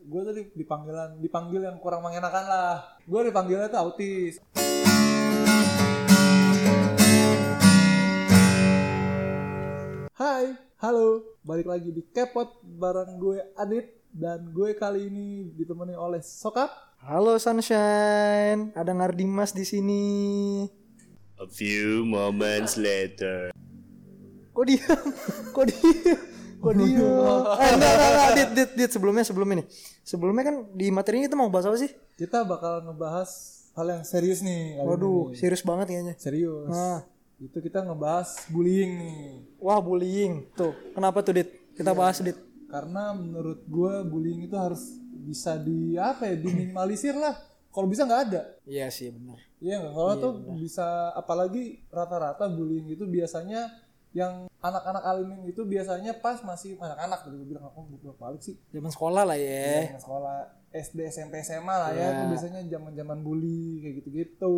gue tadi dipanggilan dipanggil yang kurang mengenakan lah gue dipanggilnya tuh autis Hai, halo, balik lagi di Kepot bareng gue Adit dan gue kali ini ditemani oleh Sokap Halo Sunshine, ada Ngardimas di sini. A few moments later. Kok diam? Kok diam? Kok diam? Eh, enggak, enggak, enggak, dit, dit, dit, sebelumnya, sebelumnya nih. Sebelumnya kan di materinya kita mau bahas apa sih? Kita bakal ngebahas hal yang serius nih kali Waduh, ini. serius banget kayaknya. serius. Ah. Itu kita ngebahas bullying nih. Wah, bullying. Tuh, kenapa tuh, Dit? Kita bahas, Dit. Karena menurut gue bullying itu harus bisa di apa ya diminimalisir lah. Kalau bisa nggak ada. Iya sih, benar. Iya nggak. Kalau tuh bisa apalagi rata-rata bullying itu biasanya yang anak-anak alimin itu biasanya pas masih anak-anak tadi gue bilang aku gue balik sih Zaman sekolah lah ya. Zaman sekolah SD SMP SMA lah ya Iya. itu biasanya zaman-zaman bully kayak gitu-gitu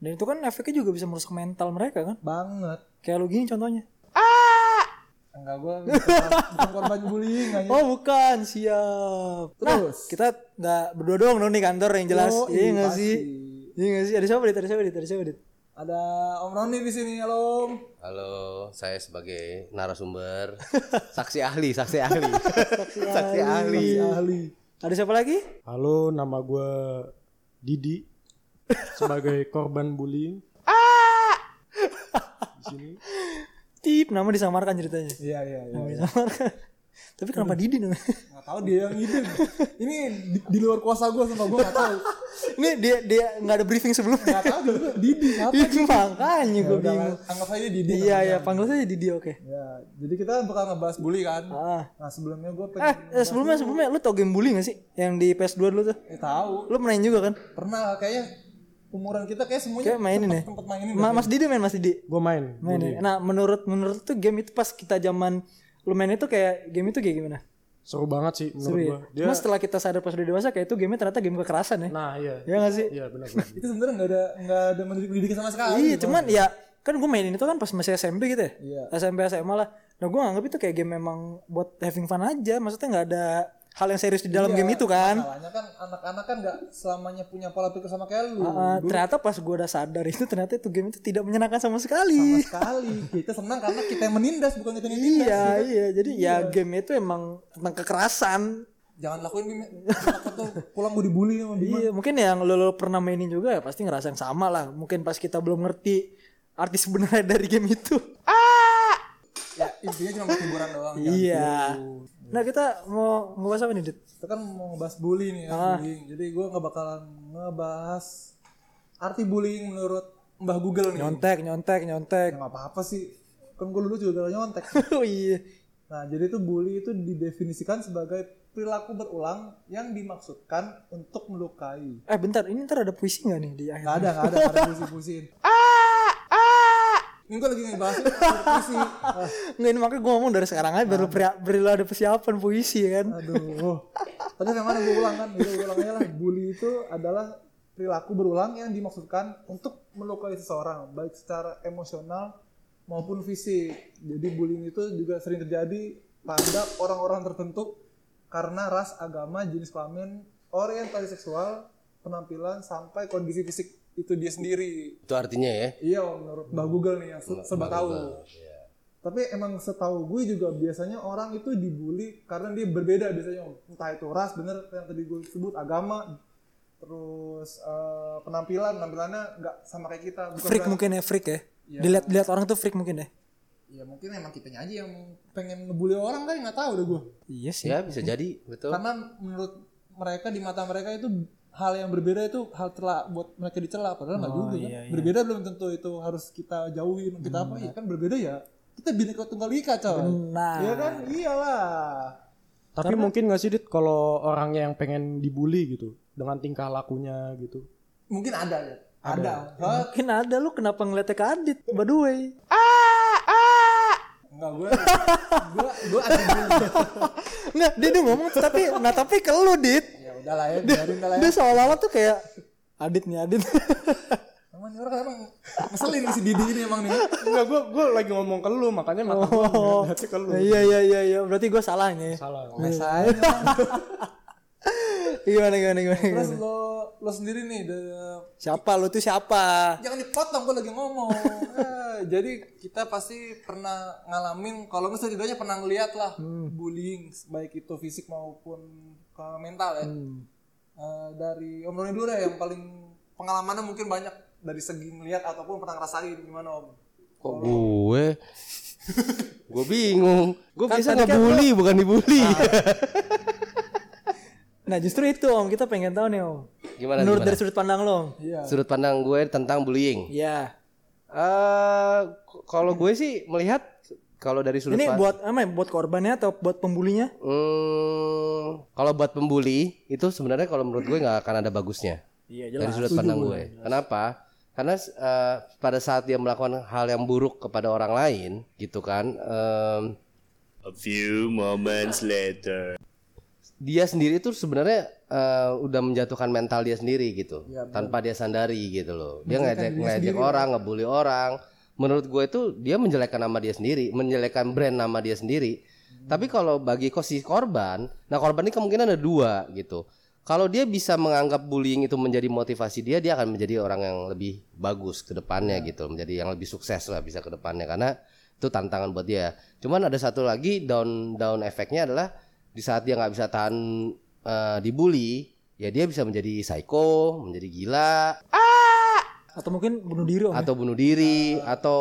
Dan itu kan efeknya juga bisa merusak mental mereka kan. banget Kayak lu gini contohnya. enggak gue bukan korban bullying aja Oh, bukan. Siap. Terus, Terus. kita nggak berdua doang dong nih kantor yang jelas. Oh, iya nggak pasti. sih? Iya nggak sih? Ada siapa, Dit? Ada siapa, Dit? Ada siapa, Dit? Ada Om Roni di sini, halo. Om. Halo, saya sebagai narasumber, saksi ahli, saksi ahli, saksi ahli. Si ahli. Ada siapa lagi? Halo, nama gue Didi sebagai korban bullying. Di sini Tip, nama disamarkan ceritanya. Iya, iya, iya. Disamarkan. Tapi kenapa Didi namanya? Nggak tahu dia yang ide. Ini di, di luar kuasa gue sama gue nggak tahu. Ini dia dia nggak ada briefing sebelumnya. Nggak tahu juga Didi siapa. Itu makanya Ya gue Udah, bingung. anggap aja Didi. Iya iya, panggil saja Didi oke. Ya, jadi kita bakal ngebahas bully kan. Ah. Nah sebelumnya gue Eh, pengen eh, sebelumnya sebelumnya lu tau game bully gak sih? Yang di PS2 dulu tuh. eh, tahu. Lu main juga kan? Pernah kayaknya umuran kita kayak semuanya Kayak mainin ya. tempat mainin. Ma- Mas Didi main Mas Didi. gue main. Main ya. Nah, menurut menurut tuh game itu pas kita zaman lu main itu kayak game itu kayak gimana? Seru banget sih menurut Seru ya. gue. Dia, Cuma setelah kita sadar pas udah dewasa kayak itu game ternyata game kekerasan ya. nah iya, Iya gak sih? iya benar. benar. Itu sebenarnya nggak ada nggak ada mendidik pendidikan sama sekali. Iya, cuman ya kan gue mainin itu kan pas masih SMP gitu ya. Iya. SMP SMA lah. Nah gue nganggap itu kayak game memang buat having fun aja. Maksudnya nggak ada hal yang serius di dalam game itu kan. Masalahnya kan anak-anak kan nggak selamanya punya pola pikir sama kayak lu. Uh, ternyata pas gue udah sadar itu ternyata itu game itu tidak menyenangkan sama sekali. sama sekali kita senang karena kita yang menindas bukan kita yang ditindas Iya iya. Jadi ya game itu emang tentang kekerasan. jangan lakuin Bim Takut tuh pulang gue dibully sama Bima Iya mungkin yang lo, lo pernah mainin juga ya pasti ngerasa yang sama lah. Mungkin pas kita belum ngerti arti sebenarnya dari game itu. ya intinya cuma buat hiburan doang ya. Iya. Nah kita mau ngebahas apa nih Dit? kita kan mau ngebahas bully nih ya bullying jadi gue nggak bakalan ngebahas arti bullying menurut Mbah Google nih Nyontek, nyontek, nyontek. ya nggak apa-apa sih kan gue dulu juga gara nyontek oh iya. nah jadi tuh bully itu didefinisikan sebagai perilaku berulang yang dimaksudkan untuk melukai Eh bentar, ini ntar ada puisi gak nih di akhir? Gak ada, gak ada, gak ada puisi-puisiin. Ini gue lagi ngebahas puisi. Ah, Nggak, ini makanya gue ngomong dari sekarang aja baru pria- beri lo ada persiapan puisi ya kan. Ah, aduh. Tadi yang mana gue ulang kan? Gue ulang aja lah. Bully itu adalah perilaku berulang yang dimaksudkan untuk melukai seseorang, baik secara emosional maupun fisik. Jadi bullying itu juga sering terjadi pada orang-orang tertentu karena ras, agama, jenis kelamin, orientasi seksual, penampilan, sampai kondisi fisik itu dia sendiri. Itu artinya ya. Iya menurut Mbak Google iya. nih yang se- serba tahu. Tapi emang setahu gue juga biasanya orang itu dibully karena dia berbeda biasanya Om. entah itu ras bener yang tadi gue sebut agama terus eh, penampilan penampilannya nggak sama kayak kita bukan Freak berarti- mungkin ya, freak ya. Dilihat-lihat orang tuh freak mungkin ya. ya mungkin emang kitanya aja yang pengen ngebully orang kan nggak tahu deh gue Iya sih. Ya bisa jadi, betul. karena menurut mereka di mata mereka itu hal yang berbeda itu hal telah buat mereka dicela padahal nggak juga kan berbeda belum tentu itu harus kita jauhin kita apa ya kan berbeda ya kita bineka tunggal ika coy Benar. ya kan iyalah Tapi mungkin gak sih Dit kalau orangnya yang pengen dibully gitu dengan tingkah lakunya gitu. mungkin ada ya ada, Soalnya Mungkin ada lu kenapa ngeliatnya ke Adit, by the way. enggak gue gue gue ada dulu Nggak, dia tuh ngomong tapi, nah tapi ke lu Dit. ya udahlah ya biarin dah lah ya Dia seolah-olah tuh kayak, Adit nih Adit. emang ini orang emang ngeselin si Didi ini emang nih Enggak, gue gue lagi ngomong ke lu makanya mata gue oh, ngeliatnya ke lu. iya iya iya iya, berarti gue salahnya ya. Salah. biasa aja gimana gimana gimana, Terus gimana? lo lo sendiri nih udah- siapa lu tuh siapa jangan dipotong gue lagi ngomong. Eh, jadi kita pasti pernah ngalamin kalau nggak setidaknya pernah ngeliat lah bullying baik itu fisik maupun ke mental ya. Eh, dari Om Roni dulu deh yang paling pengalamannya mungkin banyak dari segi melihat ataupun pernah ngerasain gimana Om. Kok gue? gue bingung. Gue Kan Ah, bisa tadi kan dibully bukan dibully. nah justru itu om kita pengen tahu nih om gimana menurut gimana? dari sudut pandang lo om Iya. Sudut pandang gue tentang bullying. ya Eh k- kalau gue sih melihat kalau dari sudut ini pandang buat apa ya, buat korbannya atau buat pembulinya Hmm, kalau buat pembuli itu sebenarnya kalau menurut gue nggak akan ada bagusnya. Iya, Dari sudut pandang gue. Kenapa? Karena eh, pada saat dia melakukan hal yang buruk kepada orang lain, gitu kan, em, A few moments later. dia sendiri tuh sebenarnya eh, udah menjatuhkan mental dia sendiri gitu, tanpa dia sandari gitu loh. Dia ngejek ngejek orang, ngebully orang. Menurut gue itu dia menjelekkan nama dia sendiri, menjelekkan brand nama dia sendiri. Tapi kalau bagi ko- si korban, nah korban ini kemungkinan ada dua gitu. Kalau dia bisa menganggap bullying itu menjadi motivasi dia, dia akan menjadi orang yang lebih bagus ke depannya gitu, menjadi yang lebih sukses lah bisa ke depannya karena itu tantangan buat dia. Cuman ada satu lagi down down efeknya adalah di saat dia nggak bisa tahan eh, dibully, ya dia bisa menjadi psycho, menjadi gila Ah! atau mungkin bunuh diri om ya? atau bunuh diri atau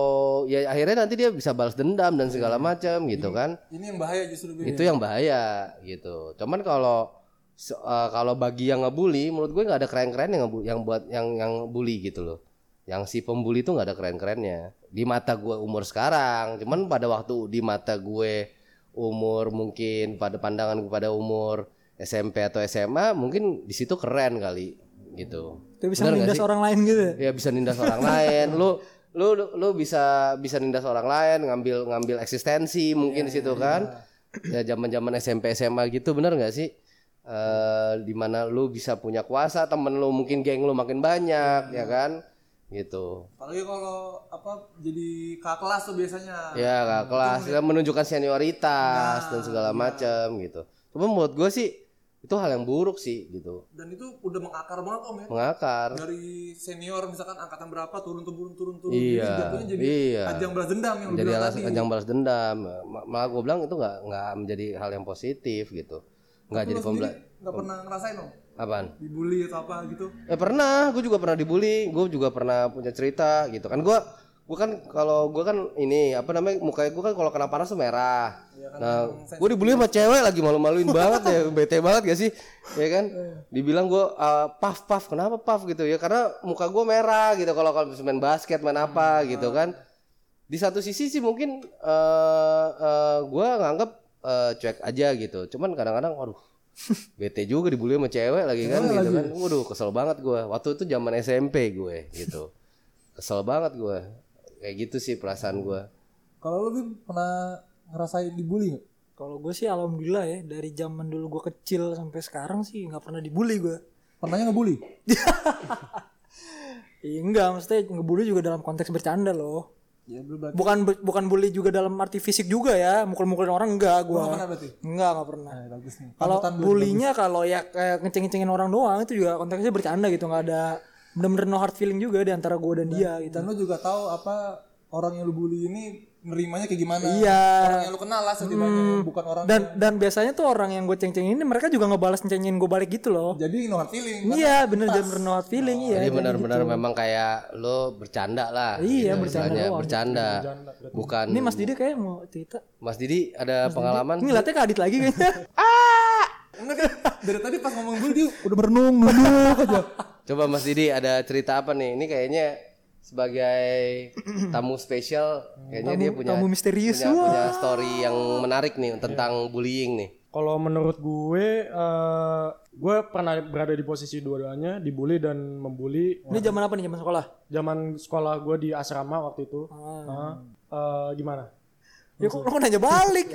ya akhirnya nanti dia bisa balas dendam dan segala macam Iya. gitu kan. Ini yang bahaya justru Bin. Itu yang bahaya gitu. Cuman kalau se- eh, kalau bagi yang ngebully, menurut gue nggak ada keren-keren yang ngebu- yang buat yang yang bully gitu loh. Yang si pembuli itu nggak ada keren-kerennya. Di mata gue umur sekarang, cuman pada waktu di mata gue umur mungkin pada pandangan gue pada umur SMP atau SMA mungkin di situ keren kali gitu. itu bisa Bener nggak menindas sih? orang lain gitu ya? ya bisa nindas orang lain lu lu lu bisa bisa nindas orang lain ngambil ngambil eksistensi mungkin di situ kan ya zaman-zaman SMP SMA gitu bener nggak sih eh dimana lu bisa punya kuasa temen lu mungkin geng lu makin banyak ya kan gitu Apalagi kalau apa jadi kakak kelas tuh biasanya. ya kakak kelas ya, menunjukkan senioritas dan segala macam gitu cuma menurut gue sih itu hal yang buruk sih gitu Dan itu udah mengakar banget Om ya. mengakar dari senior misalkan angkatan berapa turun turun turun turun Iya, jadi jatuhnya jadi iya. ajang balas dendam yang lu jadi bilang alas tadi ajang balas dendam eh, Ma- malah gue bilang itu nggak nggak menjadi hal yang positif gitu nggak Lu jadi sendiri pembela nggak pernah ngerasain dong apaan dibully atau apa gitu eh pernah gue juga pernah dibully gue juga pernah punya cerita gitu kan gue gue kan kalau gue kan ini apa namanya mukanya gue kan kalau kena panas tuh merah Iya kan, nah gue dibully sama cewek lagi malu-maluin banget ya bete banget gak sih ya kan Iya. dibilang gue paf paf kenapa paf gitu ya karena muka gue merah gitu kalau kalau main basket main Ah. apa gitu kan di satu sisi sih mungkin eh eh, gua nganggap eh, cuek aja gitu cuman kadang-kadang waduh bete juga dibully sama cewek lagi kan gitu kan waduh kesel banget gua waktu itu zaman SMP gue gitu kesel banget gua kayak gitu sih perasaan gua kalau lu Bim, pernah ngerasain dibully nggak kalau gue sih alhamdulillah ya dari zaman dulu gue kecil sampai sekarang sih nggak pernah dibully gue pernahnya ngebully Iya enggak, maksudnya ngebully juga dalam konteks bercanda loh. ya belum berarti Bukan ber- bukan bully juga dalam arti fisik juga ya, mukul-mukulin orang Oh, enggak Nggak gua. pernah Iya, berarti Enggak, enggak pernah. Nah, bagus nih Kalau Panutan lu. bullynya kalau ya kayak ngeceng-ngecengin orang doang itu juga konteksnya bercanda gitu, enggak ada bener-bener no hard feeling juga di antara gua dan dia gitu. dan lu juga tahu apa orang yang lu bully ini nerimanya kayak gimana Hmm. Iya. orang yang lu kenal lah setidaknya bukan orang Dan dan biasanya tuh orang yang gue ceng-cengin ini mereka juga ngebalas cengin gue balik gitu loh. jadi no hard feeling kan? Iya, bener bener no hard feeling iya. jadi benar-benar memang kayak lo bercanda lah Iya, gitu, bercanda istilahnya. doang. bercanda bukan Ini Mas Didi kayak mau cerita. Mas Didi ada pengalaman Ini ngeliatnya ke Adit lagi kayaknya. Enggak kan? dari tadi pas ngomong bully dia Udah merenung, merenung aja. Coba Mas Didi ada cerita apa nih? Ini kayaknya sebagai tamu spesial kayaknya dia punya tamu misterius. punya, punya story yang menarik nih tentang bullying nih. Kalau menurut gue, eh, gue pernah berada di posisi dua-duanya, dibully dan membuli. Ini zaman apa nih? Zaman sekolah. Zaman sekolah gue di asrama waktu itu. Ah. Heeh. Eh, gimana? Ya kok kok nanya balik?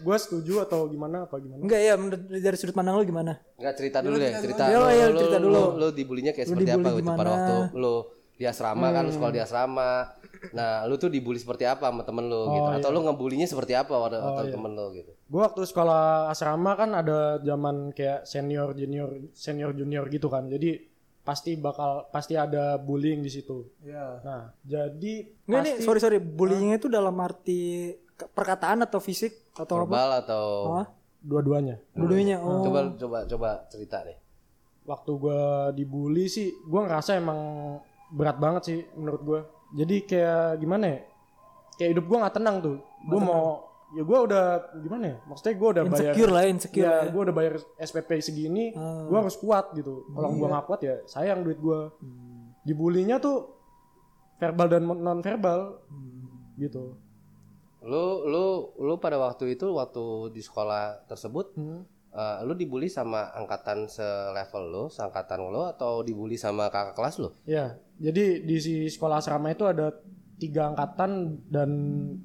Gue setuju atau gimana? Apa gimana? Enggak ya menurut dari sudut pandang lo gimana? Enggak cerita dulu deh, cerita. dulu. Lo, Iya, lo- cerita lo- dulu. Hmm. lo- lo dibulinya kayak seperti apa gitu pada waktu lo di asrama kan, lo sekolah di asrama. Nah, lu tuh dibully seperti apa sama temen lu Oh, gitu? iya. Atau lu ngebulinya seperti apa waktu atau temen lu gitu? Gue waktu sekolah asrama kan ada zaman kayak senior junior senior junior gitu kan. Jadi pasti bakal pasti ada bullying di situ. Iya. Nah, jadi Nggak nih, sorry sorry, bullying itu dalam arti ke- perkataan atau fisik atau apa? Verbal atau Hmm. Hah? dua-duanya. Dua-duanya. Oh. coba coba coba cerita deh. Waktu gue dibully sih, gue ngerasa emang berat banget sih menurut gue. Jadi kayak gimana ya? Kayak hidup gue nggak tenang tuh. Gue mau ya gue udah gimana ya? Maksudnya gue udah bayar Insecure lah, insecure. ya, ya. gue udah bayar SPP segini, gue harus kuat gitu. Kalau gue nggak kuat ya sayang duit gue. Dibulinya tuh verbal dan non verbal gitu. Lu lu lu pada waktu itu waktu di sekolah tersebut eh, lu dibully sama angkatan selevel lu, seangkatan lu atau dibully sama kakak kelas lu? Ya, jadi di si sekolah asrama itu ada tiga angkatan dan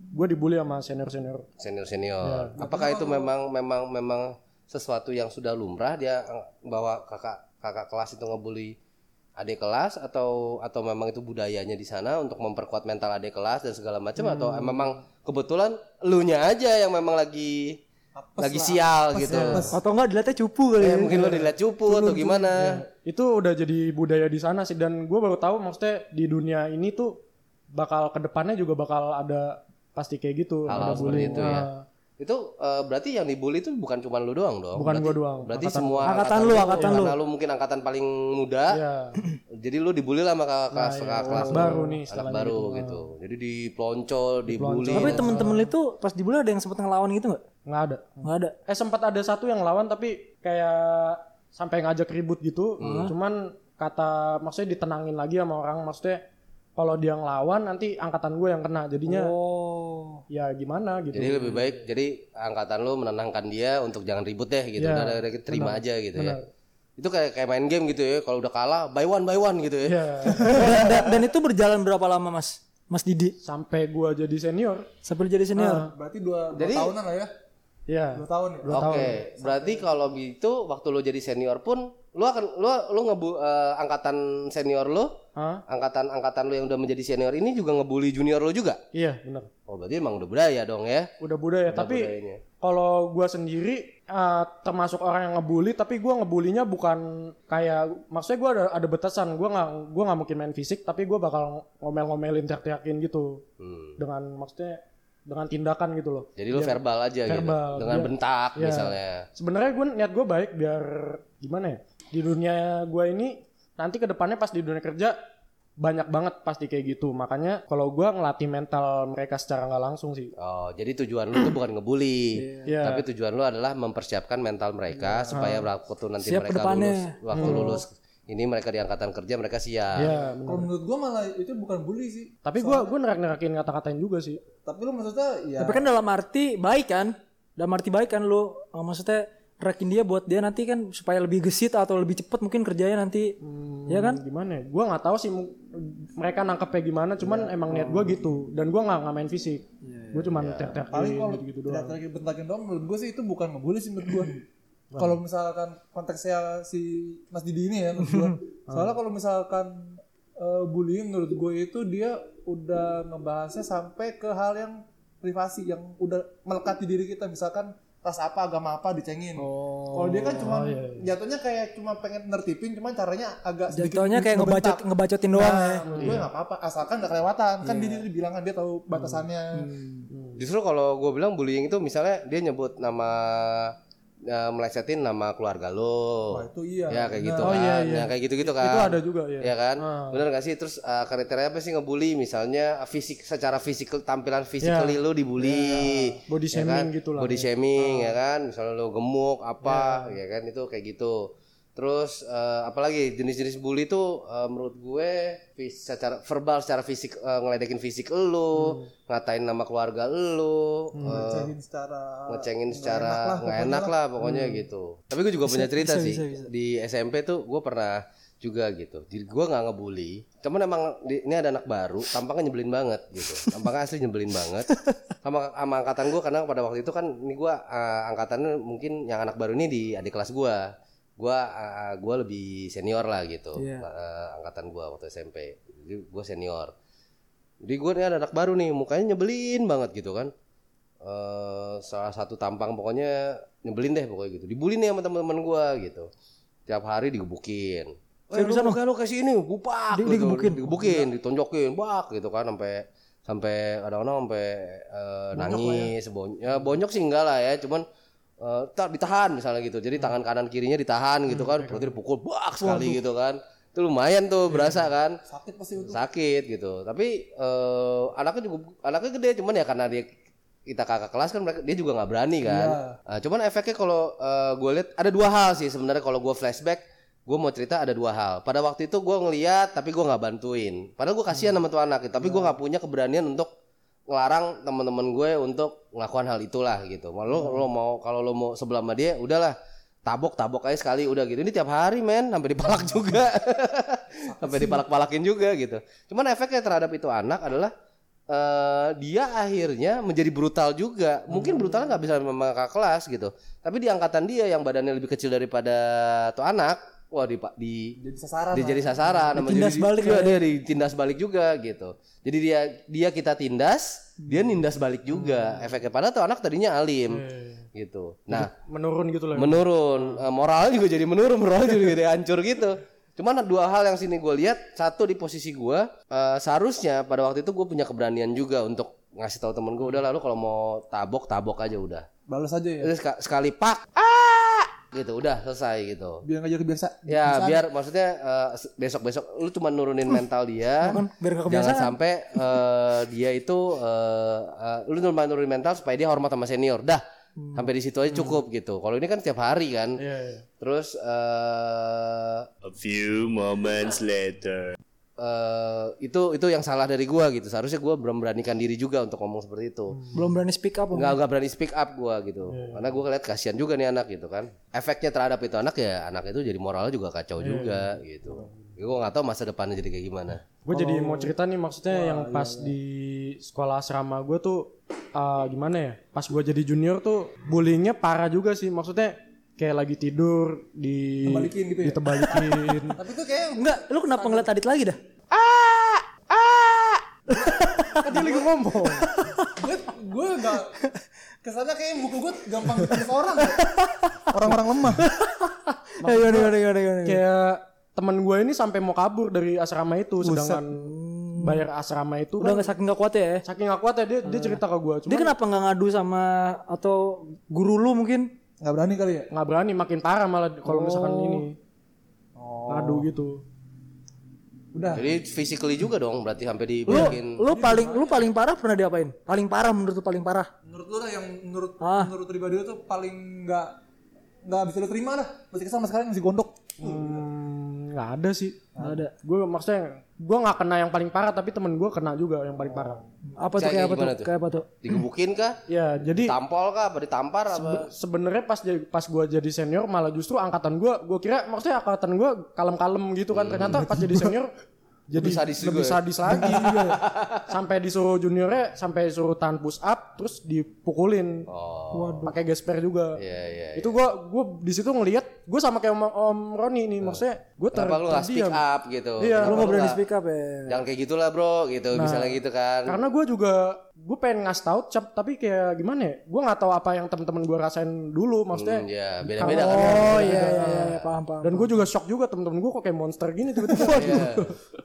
gue dibully sama senior senior. Senior-senior. Apakah itu memang memang memang sesuatu yang sudah lumrah dia eh, bawa kakak kakak kelas itu ngebully adik kelas atau atau memang itu budayanya di sana untuk memperkuat mental adik kelas dan segala macam atau memang kebetulan elunya aja yang memang lagi lagi sial gitu. ya, Atau enggak dilihatnya cupu kali Eh, ya. mungkin lo dilihat cupu atau gimana. Itu udah jadi budaya di sana sih dan gue baru tahu maksudnya di dunia ini tuh bakal kedepannya juga bakal ada pasti kayak gitu Hal-hal ada seperti bullying. itu ya. Nah, Itu eh, berarti yang dibully itu bukan cuma lu doang dong. berarti, Bukan gua doang. Berarti Angkatan- semua angkatan lu, angkatan karena lu mungkin angkatan paling muda. Iya. Jadi lu dibully lah sama kakak kelas kakak Nah, anak kelas lu. baru nih anak istilahnya baru gitu. Jadi diploncol, dibully. Tapi temen-temen lu itu pas dibully ada yang sempat ngelawan gitu nggak? nggak ada. Nggak ada. Eh sempat ada satu yang lawan tapi kayak sampai ngajak ribut gitu. Cuman kata maksudnya ditenangin lagi sama orang maksudnya kalau dia ngelawan nanti angkatan gue yang kena jadinya Oh. ya gimana gitu. Jadi lebih baik jadi angkatan lu menenangkan dia untuk jangan ribut deh gitu. Iya, Udah, udah, udah, terima aja gitu ya. Itu kayak kayak main game gitu ya. Kalau udah kalah by one by one gitu ya. Ya, dan, dan- dan itu berjalan berapa lama Mas? Mas Didi sampai gue jadi senior. sampai jadi senior. Berarti dua, dua tahunan lah ya. Ya. Dua tahun ya. Oke, berarti kalau gitu waktu lu jadi senior pun lu akan lu lu ngebu eh, angkatan senior lu, Hah? angkatan angkatan lu yang udah menjadi senior ini juga ngebully junior lu juga. Iya, benar. Oh, berarti emang udah budaya dong ya. Udah budaya, tapi budayanya. kalau gua sendiri eh, termasuk orang yang ngebully, tapi gua ngebulinya bukan kayak maksudnya gua ada ada batasan, gua nggak gua nggak mungkin main fisik, tapi gua bakal ngomel-ngomelin teriak-teriakin gitu. Hmm. Dengan maksudnya dengan tindakan gitu loh. Jadi lu verbal aja verbal, gitu. Dengan dia- bentak Iya. misalnya. Sebenarnya gue niat gue baik biar gimana ya di dunia gue ini nanti kedepannya pas di dunia kerja banyak banget pasti kayak gitu makanya kalau gue ngelatih mental mereka secara nggak langsung sih Oh, jadi tujuan lu tuh bukan ngebully. Iya. Tapi tujuan lu adalah mempersiapkan mental mereka supaya Ah. waktu nanti Siap mereka kedepannya. lulus, waktu lulus ini mereka di angkatan kerja mereka siap. Hmm. Iya, bener. Kalau menurut gua malah itu bukan bully sih. tapi gue gue nerak-nerakin kata-katain juga sih Tapi lu maksudnya ya Tapi kan dalam arti baik kan? Dalam arti baik kan lu eh, maksudnya rekin dia buat dia nanti kan supaya lebih gesit atau lebih cepet mungkin kerjanya nanti. ya kan? gimana ya gue nggak tahu sih mu- mereka nangkepnya gimana cuman emang niat gue gitu dan gue nggak nggak main fisik gue cuman teriak-teriakin paling kalau gitu-gitu doang tidak terakhir bentakin doang menurut gua sih itu bukan ngebully sih menurut gua. Hmm. kalau misalkan konteksnya si Mas Didi ini ya menurut gua. Hmm. Soalnya kalau misalkan eh, bullying menurut gua itu dia udah ngebahasnya sampai ke hal yang privasi yang udah melekat di diri kita misalkan ras apa agama apa dicengin. Oh, Kalau dia iya, kan cuma jatuhnya kayak cuma pengen nertipin cuman caranya agak sedikit Jatuhnya kayak ngebacot ngebentak. ngebacotin doang ya. Nah, menurut Iya. gue nggak apa-apa asalkan nggak kelewatan kan dia dibilang kan dia tahu batasannya Hmm. Justru kalau gue bilang bullying itu misalnya dia nyebut nama eh, melesetin nama keluarga lo. Wah, itu iya Ya kayak gitu Oh, kan. iya, iya. Ya, kayak gitu-gitu kan. itu ada juga ya ya kan bener gak sih terus uh, kriteria apa sih ngebully misalnya uh, fisik secara fisik tampilan Ya. physically lu dibully Body ya kan? shaming gitu lah, body shaming ya kan misalnya lu gemuk apa ya kan itu kayak gitu terus uh, apalagi jenis-jenis bully itu uh, menurut gue fis- secara verbal secara fisik uh, ngeledekin fisik Hmm. lu ngatain nama keluarga lu uh, Ngecekin secara ngecengin secara nggak enak lah pokoknya gitu. Tapi gue juga punya cerita sih di SMP tuh gue pernah juga gitu. Jadi gue nggak ngebully. Cuman emang di- ini ada anak baru, tampangnya nyebelin banget gitu. Tampangnya asli nyebelin banget. Sama, sama angkatan gue karena pada waktu itu kan ini gue eh, angkatannya mungkin yang anak baru ini di adik kelas gue. Gue eh, gue Iya. lebih senior lah gitu. Eh, angkatan gue waktu SMP. Jadi gue senior. Jadi gue nih ada anak baru nih, mukanya nyebelin banget gitu kan. eh salah satu tampang pokoknya nyebelin deh pokoknya gitu. Dibully nih sama teman-teman gue gitu. Tiap hari digebukin. Eh, lu muka lu kasih ini, bupak. gitu. digebukin? digebukin, ditonjokin, bak gitu kan sampai sampai kadang-kadang sampai eh, nangis, bonyok, ya, bonyok sih enggak lah ya, cuman eh, tak ditahan misalnya gitu. Jadi tangan kanan kirinya ditahan gitu kan, berarti dipukul bak sekali gitu kan. Itu lumayan tuh berasa kan sakit pasti itu sakit gitu tapi eh, anaknya juga anaknya gede cuman ya karena dia kita kakak kelas kan mereka dia juga nggak berani iya. kan Ah, cuman efeknya kalau gue lihat ada dua hal sih sebenarnya kalau gue flashback gue mau cerita ada dua hal pada waktu itu gue ngeliat tapi gue nggak bantuin padahal gue kasihan sama tuh anak tapi gue nggak punya keberanian untuk ngelarang teman-teman gue untuk melakukan hal itulah gitu Mau lo lo mau kalau lo mau sebelah sama dia udahlah tabok tabok aja sekali udah gitu ini tiap hari men sampai dipalak juga sampai dipalak-palakin juga gitu. Cuman efeknya terhadap itu anak adalah eh dia akhirnya menjadi brutal juga. Mungkin brutalnya nggak bisa memang kakak kelas gitu. Tapi di angkatan dia yang badannya lebih kecil daripada tuh anak, wah di di jadi sasaran dia jadi sasaran sama Ditindas jadi- balik ya? iya, dia ditindas balik juga gitu jadi dia dia kita tindas dia Hmm. nindas balik juga efeknya padahal tuh anak tadinya alim Iya, gitu nah menurun gitu loh. menurun Eh, moralnya juga jadi menurun moralnya juga jadi hancur gitu cuman ada dua hal yang sini gue lihat satu di posisi gue eh, seharusnya pada waktu itu gue punya keberanian juga untuk ngasih tahu temen gue udah lalu kalau mau tabok tabok aja udah balas aja Iya. ya Terus seka- sekali pak ah gitu udah selesai gitu biar aja kebiasa Ya biar maksudnya eh, se- besok-besok lu cuma nurunin mental dia. kan? Biar gak Jangan sampai eh, dia itu eh, eh, lu cuma nurunin mental supaya dia hormat sama senior. Dah. Sampai di situ aja cukup gitu. Kalau ini kan tiap hari kan. Iya, iya. Terus eh A few moments later. eh, itu itu yang salah dari gua gitu. Seharusnya gua belum beranikan diri juga untuk ngomong seperti itu. belum berani speak up nggak nggak berani speak up gua gitu Iya. karena gua ngeliat kasihan juga nih anak gitu kan efeknya terhadap itu anak ya anak itu jadi moralnya juga kacau Iya. juga gitu gue nggak tahu masa depannya jadi kayak gimana Gue jadi mau cerita nih maksudnya yang pas di sekolah asrama gue tuh uh, gimana ya? Pas gue jadi junior tuh bullyingnya parah juga sih. Maksudnya kayak lagi tidur di Tebalikin gitu ya? ditebalikin. tapi itu kayak enggak lu kenapa ngeliat Adit lagi dah kan dia lagi ngomong. gue gue gak kesannya kayak buku gue gampang ditulis orang ya. orang-orang lemah ayo ayo ayo ayo ayo kayak teman gue ini sampai mau kabur dari asrama itu sedangkan bayar asrama itu udah kan nggak saking nggak kuat ya saking gak kuat ya dia dia cerita ke gue dia cuma kenapa nggak ngadu sama atau guru lu mungkin nggak berani kali ya nggak berani makin parah malah kalau misalkan ini ngadu gitu Iya. udah jadi physically juga dong berarti sampai di lu lu paling lu paling parah pernah diapain paling parah menurut lu paling parah menurut lu lah yang menurut Ah. menurut pribadi lu tuh paling nggak nggak bisa lu terima lah masih kesel sama sekarang masih gondok Hmm, nggak ada sih nggak ada gue maksudnya gue nggak kena yang paling parah tapi temen gue kena juga yang paling parah apa tuh Kayak kayak apa tuh gimana tuh? kayak apa Iya. tuh digebukin kah ya jadi tampol kah apa ditampar apa sebenarnya pas jadi- pas gue jadi senior malah justru angkatan gue gue kira maksudnya angkatan gue kalem-kalem gitu kan ternyata pas jadi senior jadi Hmm. Lebih sadis lebih juga ya? sadis lagi iya. sampai disuruh juniornya sampai suruh tahan push up terus dipukulin Iya. oh pakai gesper juga iya iya itu gue gue di situ ngelihat gue sama kayak om, om Roni nih maksudnya gue ter Hmm. kenapa lu nggak speak terdiam. up gitu Iya. Kenapa lu nggak berani nggak- speak Nah. up ya jangan kayak gitulah bro gitu misalnya gitu kan karena gue juga gue pengen ngasih tahu cap tapi kayak gimana ya gue nggak tahu apa yang teman-teman gue rasain dulu maksudnya Hmm, ya beda-beda kan oh iya iya iya paham paham dan gue juga shock juga temen-temen gue kok kayak monster gini tiba-tiba Iya.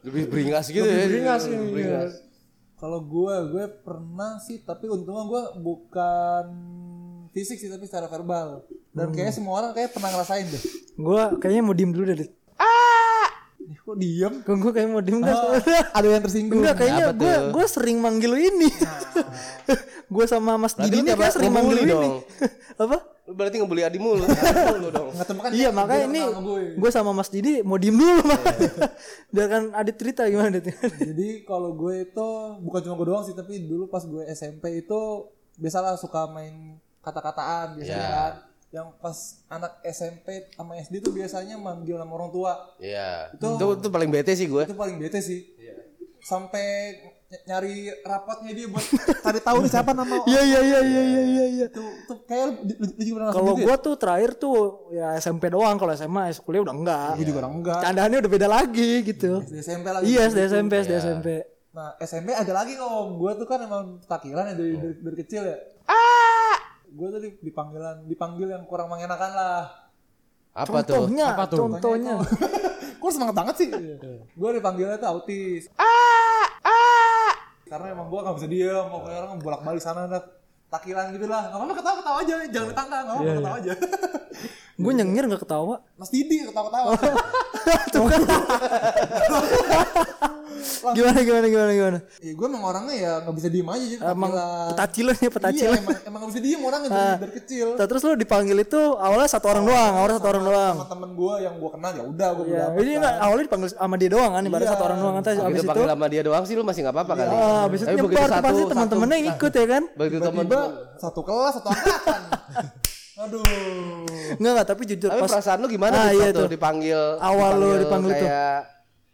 lebih beringas gitu ya beringas ini, iya. beringas. kalau gue gue pernah sih tapi untungnya gue bukan fisik sih tapi secara verbal Hmm. dan kayaknya semua orang kayak pernah ngerasain deh gue kayaknya mau diem dulu deh Dit. Ih, kok diem Kok gue kayaknya mau diem dah soalnya. ada yang tersinggung Enggak kayaknya Oh, Apa gue tuh? gue sering manggil lu ini. gue sama Mas Berarti Didi lu nih tiap kayak hari sering ngebully manggil lu ini. dong. Apa? Lu berarti ngebully Adi mulu. Adi mulu dong. nggak kan gitu. temukan Iya makanya ini gue sama Mas Didi mau diem dulu makanya. Iya. Biar kan Adit cerita gimana Dit. Oh, Jadi kalau gue itu bukan cuma gue doang sih, tapi dulu pas gue SMP itu biasalah suka main kata-kataan biasanya Ya. kan. Yang pas anak SMP sama SD tuh biasanya manggil sama orang tua. Iya. Itu, itu paling bete sih gue. Itu paling bete sih. Sampai ny- nyari rapotnya dia buat cari tahu nih siapa nama Iya iya iya iya iya iya. iya. itu. Itu kayak lu, lu, lu juga pernah ngerasain Kalau gitu gue tuh terakhir tuh ya SMP doang kalau SMA Iya kuliah udah enggak. ya? Gue juga orang enggak. Candaannya udah beda lagi gitu. Iya, SD SMP lagi. Iya, SD SMP, SD SMP. Nah SMP ada lagi om, gue tuh kan emang takilan ya dari, dari, dari kecil ya. Ah! Gue tuh di- dipanggilan, dipanggil yang kurang mengenakan lah. Apa tuh? Contohnya, Apa tuh? contohnya. Gue semangat banget sih. gue dipanggilnya tuh autis. Ah! Ah! Karena emang gue gak bisa diem, pokoknya orang bolak balik sana dah. Takilan gitu lah, gak apa-apa ketawa-ketawa aja, jangan ditantang, gak apa-apa ketawa aja. Gue nyengir nggak ketawa. Mas Didi ketawa-ketawa. Gimana gimana gimana gimana? ya gue emang orangnya ya gak bisa diem aja, jadi Emang takilan. petacilan ya Iya, petacilan. emang, emang gak bisa diem orangnya dari, dari kecil. Nah, terus lu dipanggil itu awalnya satu orang doang, awalnya satu orang doang. Sama temen gue yang gue kenal ya udah Iya, gue Ya, udah ini enggak awalnya dipanggil sama dia doang kan, ibarat satu orang doang kan. Terus Abis Begitu itu, panggil sama dia doang sih lu masih nggak apa-apa kali. ah, abis itu Tapi nyebar tuh begitu satu Nah. pasti teman-temannya yang ikut ya kan? begitu teman tiba-tiba satu kelas satu angkatan. Aduh. Enggak enggak, tapi jujur Tapi pas perasaan lu gimana Ah, tuh iya saat lu tuh. dipanggil Awal lu dipanggil tuh. kayak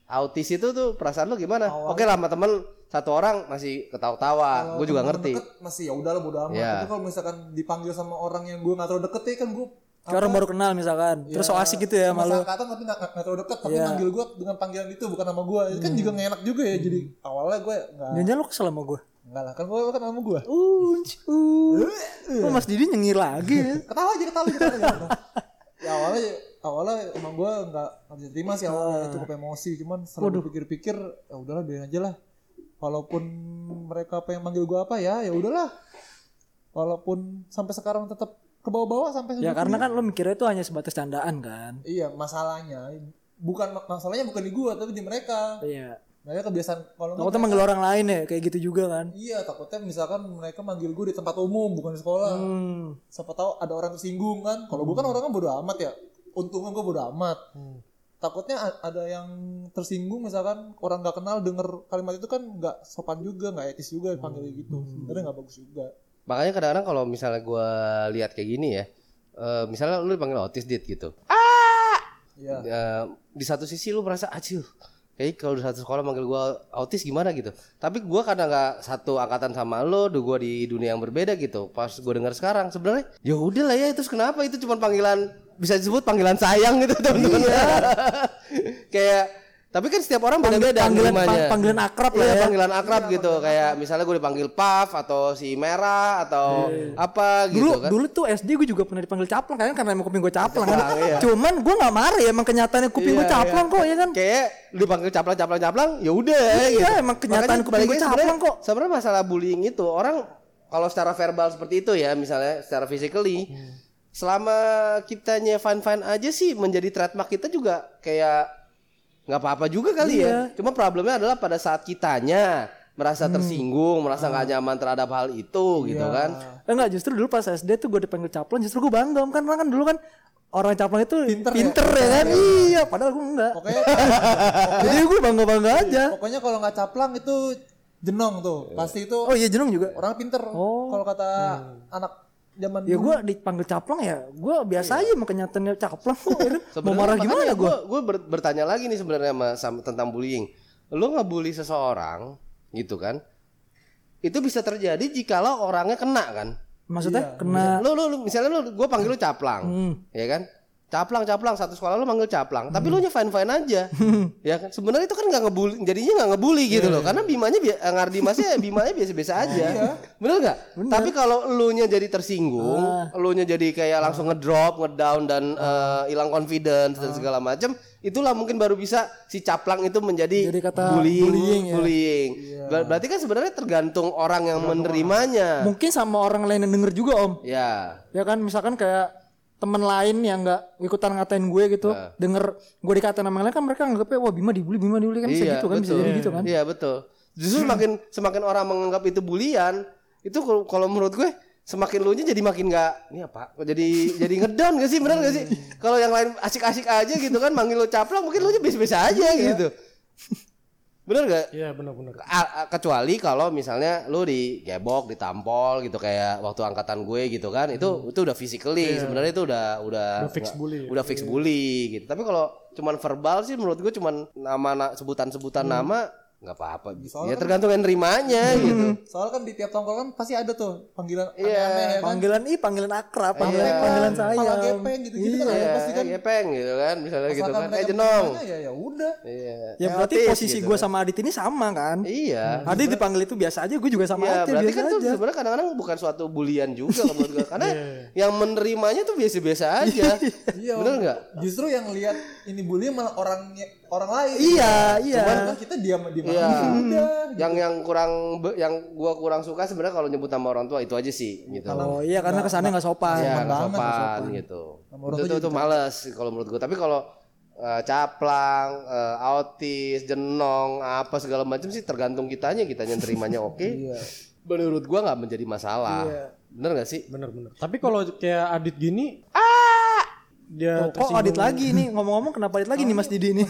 autis itu tuh perasaan lu gimana? Oke lah sama temen satu orang masih ketawa-tawa. Gue juga Temen ngerti. Deket, masih ya udah lah bodo amat. Iya. Tapi kalau misalkan dipanggil sama orang yang gue gak terlalu deket ya kan gue kayak orang baru kenal misalkan, terus so asik gitu ya sama malu. angkatan tapi gak, gak terlalu deket tapi manggil gue dengan panggilan itu bukan nama gue itu kan juga gak enak juga ya jadi awalnya gue gak Jangan-jangan lu kesel sama gue. enggak lah kan gue kan nama gue Unc, unc. Oh, Mas Didi nyengir lagi. ya? ketawa aja ketawa aja, ketawa aja. ya awalnya awalnya emang gue nggak nggak bisa terima sih Ah. awalnya cukup emosi cuman setelah pikir-pikir ya udahlah biarin aja lah walaupun mereka pengen manggil gue apa ya ya udahlah walaupun sampai sekarang tetap ke bawah-bawah sampai Ya segitu. karena kan lu mikirnya itu hanya sebatas candaan kan. iya masalahnya bukan masalahnya bukan di gue tapi di mereka Iya. mereka kebiasaan kalau nggak- Takutnya manggil orang lain ya kayak gitu juga kan. iya takutnya misalkan mereka manggil gue di tempat umum bukan di sekolah Hmm. siapa tahu ada orang tersinggung kan kalau gue kan orangnya bodo amat ya untungnya gue bodo amat Hmm. takutnya a- ada yang tersinggung misalkan orang nggak kenal denger kalimat itu kan nggak sopan juga nggak etis juga Hmm. panggil gitu sebenarnya nggak bagus juga Makanya kadang-kadang kalau misalnya gua lihat kayak gini ya, eh, misalnya lu dipanggil autis dit gitu. Iya. ya Eh, di satu sisi lu merasa acil. Kayak kalau di satu sekolah manggil gua autis gimana gitu. Tapi gua karena nggak satu angkatan sama lo, do gua di dunia yang berbeda gitu. Pas gua dengar sekarang sebenarnya ya udah lah ya terus kenapa itu cuma panggilan bisa disebut panggilan sayang gitu teman-teman. Iya. kayak tapi kan setiap orang beda-beda Panggilan nerimanya. pang- panggilan akrab lah Iya, ya. panggilan akrab gitu kayak misalnya gue dipanggil Paf atau si Merah atau Iya, apa gitu Dulu kan. dulu tuh SD gue juga pernah dipanggil caplang kan karena emang kuping gue caplang kan. Caplang, iya. Cuman gue nggak marah ya emang kenyataannya kuping gue Iya, caplang iya. kok ya kan. Kayak dipanggil caplang caplang caplang ya udah Iya, gitu. emang kenyataan kuping balik gue lagi sebenarnya- caplang kok. Sebenarnya masalah bullying itu orang kalau secara verbal seperti itu ya misalnya secara physically Oh. selama kitanya fine fine aja sih menjadi trademark kita juga kayak nggak apa-apa juga kali Iya. ya. Cuma problemnya adalah pada saat kitanya Hmm. merasa tersinggung, merasa nggak nyaman terhadap hal itu gitu kan. Eh, Enggak justru dulu pas SD tuh gue dipanggil caplang justru gue bangga Om. kan karena kan dulu kan orang caplang itu pinter, ya, kan. Iya padahal gue enggak. pokoknya Jadi gue bangga bangga aja. pokoknya kalau nggak caplang itu jenong tuh pasti itu Oh iya jenong juga. orang pinter Oh. kalau kata anak zaman Ya gue Hmm. dipanggil caplang ya gue Iya. biasa aja emang kenyataannya caplang kok. ya kan. Mau marah gimana gue? gue? Gue bertanya lagi nih sebenarnya sama, sama- tentang bullying. Lo ngebully seseorang gitu kan? Itu bisa terjadi jikalau orangnya kena kan? Maksudnya kena Lo lo, lo- misalnya lo gue panggil lo caplang, ya kan? Caplang caplang satu sekolah lo manggil caplang, tapi lo nya fine fine aja, ya kan? Sebenarnya itu kan nggak ngebully, jadinya nggak ngebully gitu loh, karena bimanya bi- eh, Ngardimasnya bimanya biasa biasa aja, Iya. bener Ah. nggak? Tapi kalau lo nya jadi tersinggung, lo nya jadi kayak langsung ngedrop, ngedown dan eh, hilang confidence dan segala macam, itulah mungkin baru bisa si caplang itu menjadi Jadi kata bullying, bullying bullying. ya. Ber- Berarti kan sebenarnya tergantung orang yang menerimanya, mungkin sama orang lain yang denger juga om ya. ya kan misalkan kayak teman lain yang nggak ikutan ngatain gue gitu Nah. denger gue dikatain sama yang lain kan mereka anggapnya wah Bima dibully Bima dibully kan bisa gitu kan bisa jadi gitu kan Iya betul. Justru semakin semakin orang menganggap itu bulian, itu kalau- kalau menurut gue semakin lu jadi makin nggak ini apa? Jadi jadi ngedown gak sih benar gak sih? Iya. Kalau yang lain asik-asik aja gitu kan manggil lu caplang mungkin lu biasa-biasa aja Iya. gitu. Bener gak? Iya benar-benar. A- a- kecuali kalau misalnya lu digebok, ditampol gitu kayak waktu angkatan gue gitu kan, itu itu udah physically sebenarnya itu udah udah Udah fix nggak- bully ya? udah fix bully gitu. Tapi kalau cuman verbal sih menurut gue cuman nama na- sebutan-sebutan nama nggak apa-apa. Soalnya Ya kan- tergantung yang nerimanya gitu. Soalnya kan di tiap tongkrongan pasti ada tuh panggilan Iya, aneh-aneh ya kan. Panggilan ih panggilan akrab, panggilan, Iya. panggilan Pala sayang. gepeng gitu-gitu kan ada pasti Iya, kan. gepeng gitu kan, misalnya gitu Asalkan kan. mereka Eh jenong. punya, Ya ya udah. Iya. Ya berarti Erotis posisi gitu gua kan. sama Adit ini sama kan? Iya. Adit dipanggil itu biasa aja, gue juga sama Iya, aja berarti biasa kan itu aja. sebenarnya kadang-kadang bukan suatu bulian juga kalau menurut gua. Karena yang menerimanya tuh biasa-biasa aja. Iya. Bener nggak? Justru yang lihat ini bully malah orangnya orang lain. Iya, iya. Cuman kan kita diam diam Iya. Nah, aja. Udah. Yang yang kurang be- yang gua kurang suka sebenarnya kalau nyebut nama orang tua itu aja sih gitu. Oh iya karena kesannya nggak sopan. nggak ya, nggak sopan, nggak sopan gitu. Sama orang Itu tua tuh, tuh males kalau menurut gue. Tapi kalau eh, caplang, eh, autis, jenong, apa segala macam sih tergantung kitanya, kitanya yang terimanya oke. Iya. Menurut gua nggak menjadi masalah. Bener nggak sih? Bener-bener. Tapi kalau kayak Adit gini, dia Oh, kok tersinggung. Adit lagi nih ngomong-ngomong kenapa Adit lagi nih Mas Didi nih?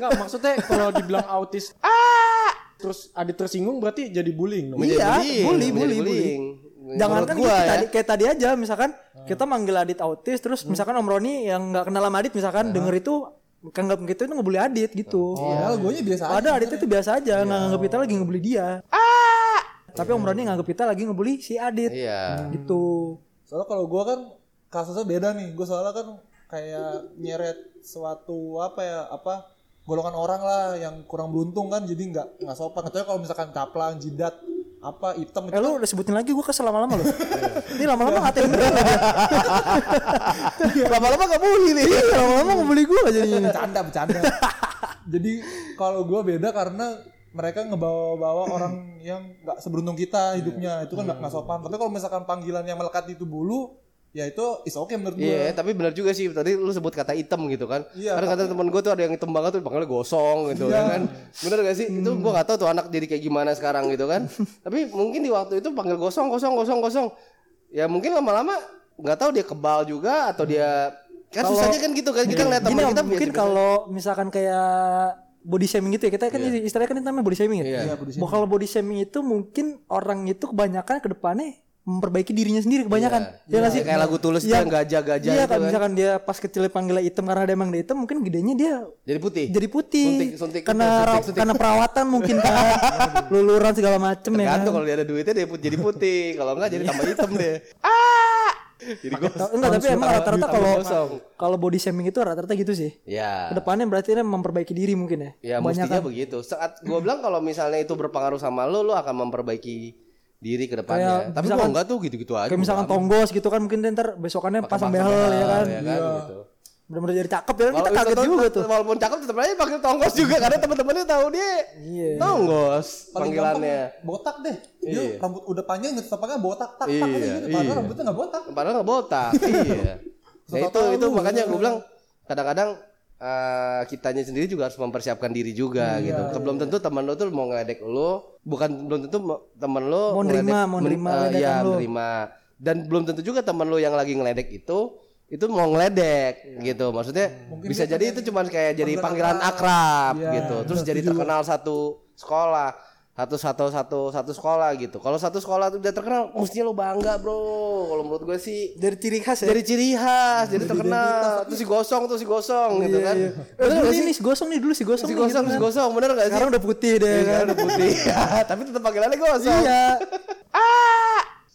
Enggak, maksudnya kalau dibilang autis, ah! terus Adit tersinggung berarti jadi bullying. dong. Menjadi Iya, bully, menjadi bully, bully. Menurut Jangan kan gua ya. Hmm. tadi, kayak tadi aja misalkan kita manggil Adit autis terus misalkan Om Roni yang nggak kenal sama Adit misalkan Hmm. denger itu kanggap gitu itu ngebully Adit gitu. Padahal Hmm. Oh, gue nya biasa aja. Ada Adit itu biasa aja Iya. nggak nganggap kita lagi ngebully dia. Tapi Om Roni nganggap kita lagi ngebully si Adit Iya. gitu. Soalnya kalau gue kan kasusnya beda nih. Gue soalnya kan kayak nyeret suatu apa ya apa golongan orang lah yang kurang beruntung kan jadi nggak nggak sopan. Kecuali kalau misalkan caplang, jidat, apa hitam Eh lu udah sebutin lagi gue kesel lama-lama Iya. loh. Ini lama-lama ngatain gue. Lama-lama nggak bully nih. Iya, lama-lama ngebully gue jadinya. nih. bercanda bercanda jadi kalau gue beda karena mereka ngebawa-bawa orang yang nggak seberuntung kita hidupnya itu kan nggak nggak sopan tapi kalau misalkan panggilan yang melekat itu bulu ya itu is okay menurut gue Iya, tapi benar juga sih tadi lu sebut kata item gitu kan. Iya, Karena kata temen gue tuh ada yang item banget tuh panggilnya gosong gitu Iya. ya kan. Bener gak sih? Itu Hmm. gue gak tahu tuh anak jadi kayak gimana sekarang gitu kan. tapi mungkin di waktu itu panggil gosong gosong gosong gosong. Ya mungkin lama-lama nggak tahu dia kebal juga atau dia kan susahnya kan gitu kan kita ngeliat Gini temen Om, kita mungkin biasa-biasa. kalau misalkan kayak body shaming gitu ya kita kan istilahnya kan itu namanya body shaming ya. Iya. Bahwa kalau body shaming itu mungkin orang itu kebanyakan ke depannya memperbaiki dirinya sendiri kebanyakan. Ya nggak sih? kayak lagu tulus Iya. kan gajah-gajah Iya, gitu kalau kan. misalkan dia pas kecil panggilnya hitam karena dia emang dia hitam, mungkin gedenya dia Jadi putih. jadi putih. Suntik- suntik- karena suntik- suntik. karena perawatan mungkin kan. Luluran segala macem ya. kan. Gantung kalau dia ada duitnya dia put- jadi putih, kalau enggak jadi tambah hitam deh. Ah! Jadi gue Ta- Enggak, tapi emang rata-rata kalau gosong. kalau body shaming itu rata-rata gitu sih. Ya. Kedepannya berarti dia memperbaiki diri mungkin ya. Ya mestinya begitu. Saat gua bilang kalau misalnya itu berpengaruh sama lo, lo akan memperbaiki diri ke Kayak depannya. Tapi gua Iya, misalkan- enggak tuh gitu-gitu aja. Kayak misalkan tonggos gitu kan mungkin dia ntar besokannya pasang behel ya kan. Ya kan gitu. Bener-bener jadi cakep ya kan kita Walaupun kaget tetep- juga tuh. Walaupun cakep tetap aja panggil tonggos juga karena teman-temannya tahu dia. Iya. Tonggos Paling panggilannya. gampang, kan, botak deh Dia Iya. rambut udah panjang nggak tetap aja botak tak tak Iya, aja gitu. padahal iya. rambutnya nggak botak Padahal nggak botak. iya. Nah itu Tahu-tahu itu lu. makanya gue bilang kadang-kadang eh, kitanya sendiri juga harus mempersiapkan diri Iya, juga gitu. Ke- Belum tentu teman lo tuh mau ngeledek lo, bukan belum tentu mo- teman lo Mau nerima, ngeledek- mau men- nerima eh, ledekan iya, lo. nerima. Dan belum tentu juga teman lo yang lagi ngeledek itu itu mau Iya. ngeledek gitu. Maksudnya bisa jadi itu cuma kayak jadi panggilan akrab gitu. Terus jadi terkenal satu sekolah satu satu satu satu sekolah gitu. Kalau satu sekolah tuh udah terkenal, mestinya lo bangga bro. Kalau menurut gue sih Dari ciri khas ya. jadi ciri khas, jadi terkenal. Terus si gosong, terus si gosong gitu kan. Eh, dulu ini si gosong nih dulu si gosong. nih, Si gosong, gitu si kan. gosong, bener gak sih? Sekarang udah putih deh Iya, kan. sekarang udah putih. Tapi tetap panggilannya gosong. Iya.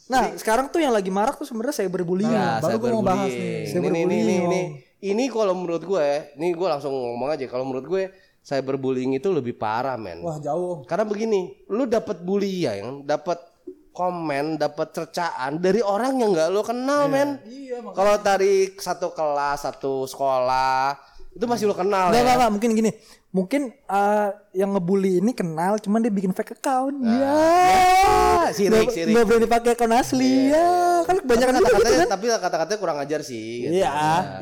Nah, sekarang tuh yang lagi marak tuh sebenarnya saya berbullying. baru gua Nah, mau cyberbullying. bahas nih. Ini, ini, ini, ini, Cyberbullying, ini, ini kalau menurut gue, ini gue langsung ngomong aja. Kalau menurut gue, cyberbullying itu lebih parah, men. wah jauh Karena begini, lu dapat bullying, dapat komen, dapat cercaan dari orang yang nggak lu kenal, men. Iya, makanya. Kalau dari satu kelas, satu sekolah, itu masih lu kenal Enggak, ya. enggak, enggak. Mungkin gini. Mungkin eh, yang ngebully ini kenal, cuman dia bikin fake account. Nah. Ya. sirik, Nggak- sirik. nggak berani pakai account asli. Ya, kan kebanyakan juga Iya, Tapi gitu kata-katanya, kan. tapi kata-katanya kurang ajar sih. gitu. Iya.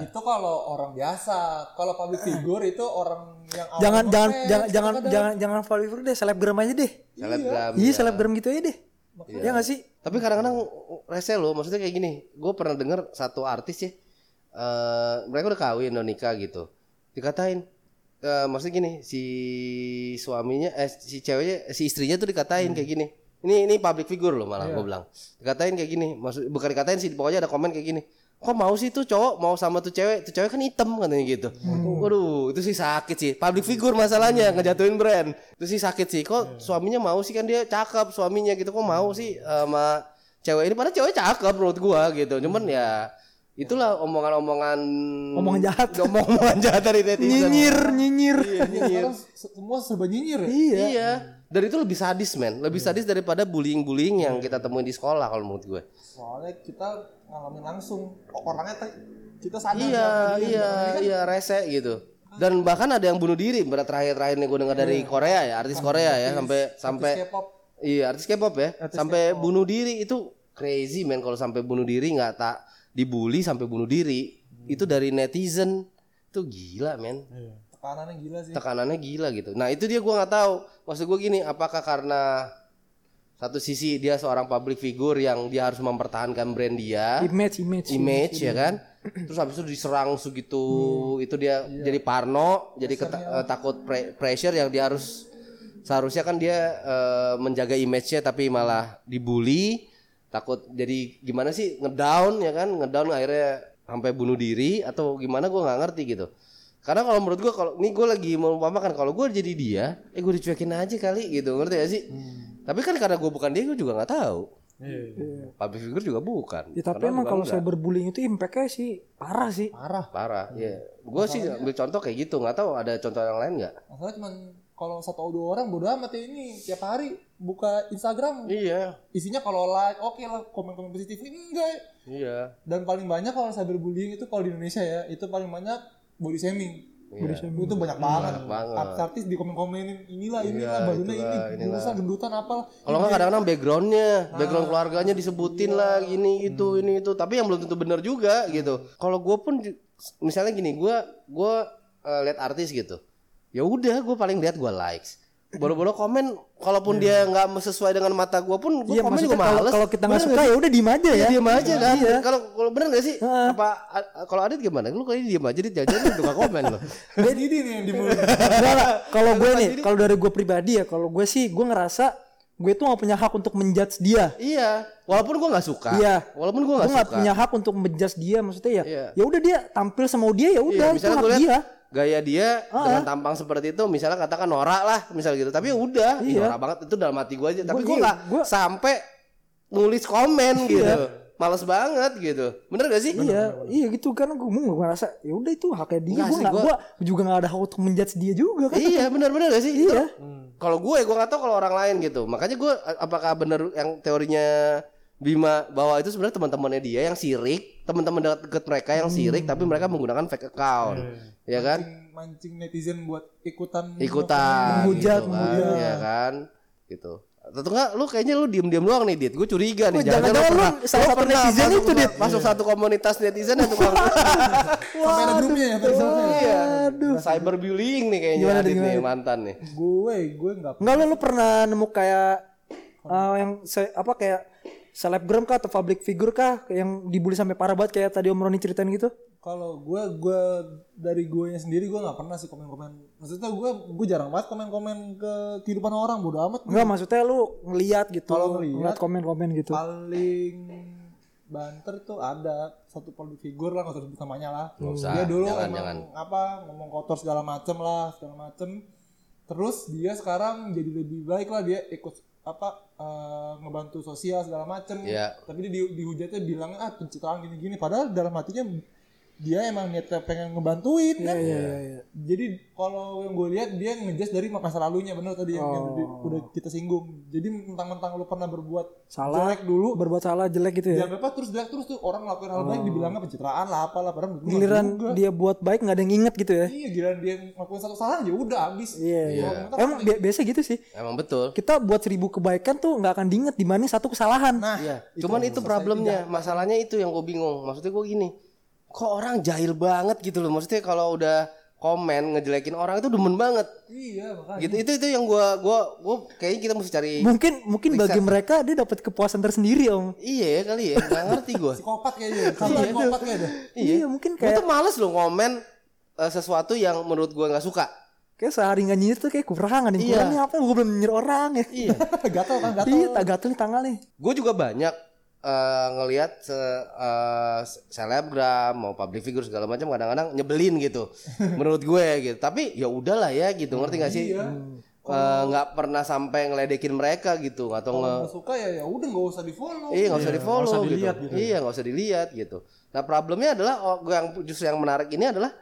itu kalau orang biasa kalau public figure itu orang yang awam Jangan jangan banget. jangan jangan jangan jangan follow follow deh, selebgram aja deh. Selebgram. Iya, selebgram gitu aja deh. Ya nggak sih? Tapi kadang-kadang rese loh, maksudnya kayak gini. Gue pernah denger satu artis ya, eh, mereka udah kawin, udah nikah gitu. Dikatain, eh, maksudnya gini, si suaminya, eh, si ceweknya, si istrinya tuh dikatain kayak gini. Ini ini public figure loh malah gue bilang. Dikatain kayak gini, maksud bukan dikatain sih, pokoknya ada komen kayak gini. kok mau sih tuh cowok mau sama tuh cewek tuh cewek kan hitam katanya gitu waduh itu sih sakit sih public figure masalahnya Hmm. ngejatuhin brand itu sih sakit sih kok suaminya mau sih kan dia cakep suaminya gitu kok mau sih sama cewek ini padahal cewek cakep menurut gua gitu cuman ya itulah omongan-omongan Omongan jahat. omongan jahat dari netizen nyinyir nyinyir Sekarang se- semua serba nyinyir ya. iya Iya. Dan itu lebih sadis men, lebih sadis daripada bullying-bullying yang kita temuin di sekolah kalau menurut gue. Soalnya kita ngalamin langsung orangnya teh kita sadar Iya, bahwa dia- iya, iya rese gitu. Dan bahkan ada yang bunuh diri, berat terakhir-terakhir nih gue dengar dari Korea ya, artis Korea ya, sampai sampai K-pop iya artis K-pop ya, sampai bunuh diri itu crazy men kalau sampai bunuh diri nggak tak dibully sampai bunuh diri itu dari netizen itu gila men Iya. tekanannya gila sih. tekanannya gila gitu. Nah itu dia gua nggak tahu. Maksud gua gini, apakah karena satu sisi dia seorang public figure yang dia harus mempertahankan brand dia, image image image Iya. ya kan. Terus habis itu diserang segitu, itu dia jadi parno, jadi keta- eh, takut pre- pressure yang dia harus seharusnya kan dia eh, menjaga image-nya tapi malah dibully, takut jadi gimana sih ngedown ya kan, ngedown akhirnya sampai bunuh diri atau gimana gua nggak ngerti gitu. Karena kalau menurut gua kalau nih gua lagi mengumpamakan kalau gua jadi dia, eh gua dicuekin aja kali gitu, ngerti gak sih? Tapi kan karena gua bukan dia, gua juga nggak tahu. Public figure juga bukan. Ya, tapi emang kalau cyberbullying itu impactnya sih parah sih. Parah. parah Hmm. ya gue sih ambil contoh kayak gitu nggak tahu ada contoh yang lain nggak Masalahnya cuman kalau satu atau dua orang bodo amat ya ini tiap hari buka Instagram iya isinya kalau like oke lah komen-komen positif ini enggak iya dan paling banyak kalau cyberbullying itu kalau di Indonesia ya itu paling banyak body shaming body shaming itu banyak banget banget. artis di komen komenin inilah inilah Iya, badannya ini itulah, inilah. gendutan gendutan apalah kalau Iya. nggak kadang-kadang backgroundnya Ah. background keluarganya disebutin lah ini itu Hmm. ini itu tapi yang belum tentu benar juga gitu kalau gue pun ju- misalnya gini gue gue lihat artis gitu ya udah gue paling lihat gue likes baru-baru komen kalaupun dia nggak sesuai dengan mata gue pun gue Iya komen maksudnya juga kalau males kalau kita nggak Bener suka ya udah diem aja ya. diem aja kan kalau kalau bener gak sih apa a- a- kalau Adit gimana lu kali diem aja Adit jangan-jangan lu nggak komen loh jadi ini nih yang dibully Enggak lah. Iya, Kalau gue nih, kalau dari gue pribadi ya, kalau gue sih gue ngerasa gue tuh gak punya hak untuk menjudge dia. Iya, walaupun gua nggak suka. Iya. Walaupun gua Gue nggak gak suka. punya hak untuk menjudge dia maksudnya ya. Iya. Ya udah dia tampil sama dia ya Iya, udah itu misalnya hak gua lihat dia. gaya dia dengan tampang seperti itu, misalnya katakan norak lah, misal gitu. Tapi ya udah, ih, norak banget itu dalam hati gua aja. Hmm. Iya. Tapi Gua- gua iya, nggak gua- sampai nulis komen gitu. Males banget gitu. Bener gak sih? Iya, iya gitu karena gue mau ngerasa ya udah itu haknya dia. Nggak Gue sih, nggak, gua- gue juga gak ada hak untuk menjudge dia juga kan. Iya, bener-bener gak sih? Iya. Itu- Kalau gue, gue nggak tahu kalau orang lain gitu. Makanya gue, apakah bener yang teorinya Bima bahwa itu sebenarnya teman-temannya dia yang sirik, teman-teman dekat mereka Hmm. yang sirik, tapi mereka menggunakan fake account, ya kan? mancing, mancing netizen buat ikutan ikutan Menghujat, gitu kan, menghujat. ya kan gitu atau enggak lu kayaknya lu diem-diem doang nih Dit gue curiga nih Wah, jangan-jangan pernah- lu salah satu pernah netizen masuk- itu, Dit. masuk satu komunitas netizen yang tukang sampai ada grupnya ya sampai ada grupnya. iya cyberbullying nih kayaknya Gimana, Dit Dit, nih gimana? mantan nih gue gue nggak Enggak lu, lu pernah nemu kayak eh, yang se- apa kayak selebgram kah atau public figure kah yang dibully sampai parah banget kayak tadi Om Roni ceritain gitu? kalau gue gue dari gue sendiri gue nggak pernah sih komen komen maksudnya gue gue jarang banget komen komen ke kehidupan orang bodo amat Enggak maksudnya lu ngeliat gitu, Hmm. Kalau ngeliat, ngeliat komen-komen gitu. paling banter tuh ada satu public figure lah nggak usah sebut namanya lah usah, dia dulu jangan, emang jangan. apa ngomong kotor segala macem lah segala macem terus dia sekarang jadi lebih baik lah dia ikut apa eh, ngebantu sosial segala macem Iya. tapi dia di, dihujatnya bilang ah pencitraan gini-gini padahal dalam hatinya dia emang niatnya pengen ngebantuin kan jadi kalau yang gue lihat dia ngejudge dari masa lalunya bener tadi yang, yang di- udah kita singgung jadi mentang-mentang lu pernah berbuat Salah. jelek dulu Iya, Berbuat salah jelek gitu ya. dianggapnya terus jelek terus tuh orang ngelakuin Oh. hal baik dibilangnya pencitraan lah apalah padahal menurut gua Giliran nggak juga. dia buat baik nggak ada yang inget gitu ya. iya giliran dia ngelakuin satu salah ya udah habis Iya, Kalau komentar Emang bi- biasa gitu sih. emang betul Kita buat seribu kebaikan tuh nggak akan diinget dibanding satu kesalahan. Nah, Iya, cuman itu problemnya, masalahnya itu yang gue bingung. Maksudnya gue gini, kok orang jahil banget gitu loh. Maksudnya kalau udah komen ngejelekin orang itu demen banget. iya makanya Gitu itu itu yang gue gua gua kayaknya kita mesti cari. Mungkin mungkin bagi mereka dia dapat kepuasan tersendiri om. Iya ya kali ya, nggak ngerti gue. psikopat kayaknya sama psikopat kayaknya Iya, mungkin Gue kayak tuh males loh ngomen eh, sesuatu yang menurut gue nggak suka. kayak sehari nggak nyinyir tuh kayak kurangan. Yang kurangnya apa? Gue belum nyinyir orang ya. Iya. gatel kan gatel Iya, tak gatel nih tangan nih. gue juga banyak eh, ngelihat se- eh, se- selebgram mau public figure segala macam kadang-kadang nyebelin gitu menurut gue gitu tapi ya udahlah ya gitu ngerti gak sih Eh, nggak pernah sampai ngeledekin mereka gitu atau nge Kalau nggak suka ya ya udah nggak usah di follow. Iya nggak usah di follow usah gitu. dilihat gitu. Iya nggak usah dilihat gitu. Nah problemnya adalah oh, gua yang justru yang menarik ini adalah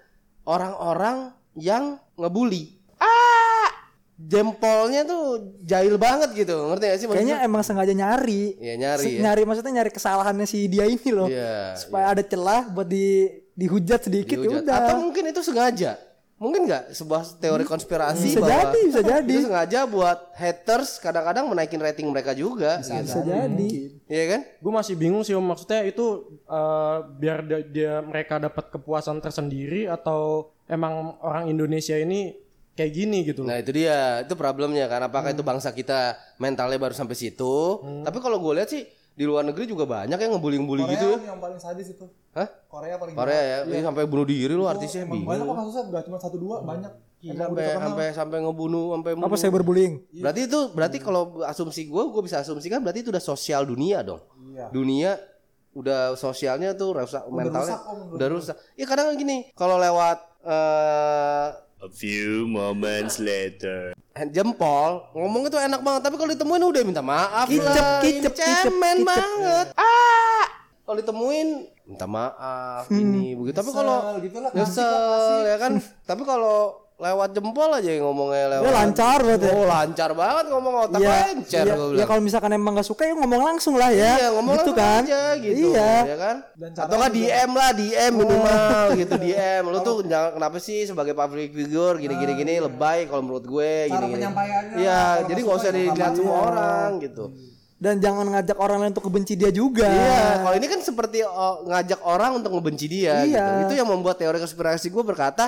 orang-orang yang ngebully. Ah, jempolnya tuh jahil banget gitu. Ngerti gak sih? maksud Kayaknya gua? emang sengaja nyari. Iya, nyari Se- ya. Nyari maksudnya nyari kesalahannya si dia ini loh. Iya, Supaya ada celah buat di dihujat sedikit ya dihujat. udah. Hmm. Atau mungkin itu sengaja. Mungkin nggak sebuah teori konspirasi Bisa bahwa jadi, bisa jadi. itu sengaja buat haters kadang-kadang menaikin rating mereka juga. gitu. Bisa jadi. Iya kan? Gue masih bingung sih Om. maksudnya itu eh, biar dia, dia- mereka dapat kepuasan tersendiri atau emang orang Indonesia ini kayak gini gitu loh. Nah itu dia, itu problemnya kan. Apakah Hmm. itu bangsa kita mentalnya baru sampai situ? Tapi kalau gue lihat sih di luar negeri juga banyak yang ngebully-ngebully Korea gitu. yang paling sadis itu. Hah? Korea paling gitu. Korea ya, Ih, sampai bunuh diri lu artisnya Emang bingung. Iya, Hmm. banyak kok kasusnya nggak cuma satu dua banyak. Yang udah Sampai terkenal. sampai sampai ngebunuh, sampai Apa bunuh. cyberbullying? Berarti itu Hmm. berarti kalau asumsi gue, gue bisa asumsikan berarti itu udah sosial dunia dong. Iya. Dunia udah sosialnya tuh rusak mentalnya, rusak, Om. udah rusak. Ya kadang gini, kalau lewat eh A few moments later. jempol ngomong itu enak banget tapi kalau ditemuin udah minta maaf lah Kicep, kicep, ini cemen kicep, kicep. banget ah kalau ditemuin minta maaf Hmm. ini begitu tapi Nyesel kalau gitu lah, nyesel ya kan tapi kalau lewat jempol aja yang ngomongnya lewat Ya lancar banget ya. oh lancar banget ngomong otak Iya, lancar iya, gua ya bilang. kalau misalkan emang gak suka ya ngomong langsung lah ya. Iya ngomong gitu langsung kan. aja gitu Iya. ya kan Dan atau nggak DM lah DM minimal Oh. gitu DM lu tuh jangan kenapa sih sebagai public figure gini gini gini lebay kalau menurut gue gini gini Ah, iya. penyampaiannya, iya kalau jadi nggak suka nggak usah ya nggak dilihat semua orang gitu Dan jangan ngajak orang lain untuk kebenci dia juga. iya kalau ini kan seperti oh, ngajak orang untuk ngebenci Iya. dia gitu itu yang membuat teori konspirasi gue berkata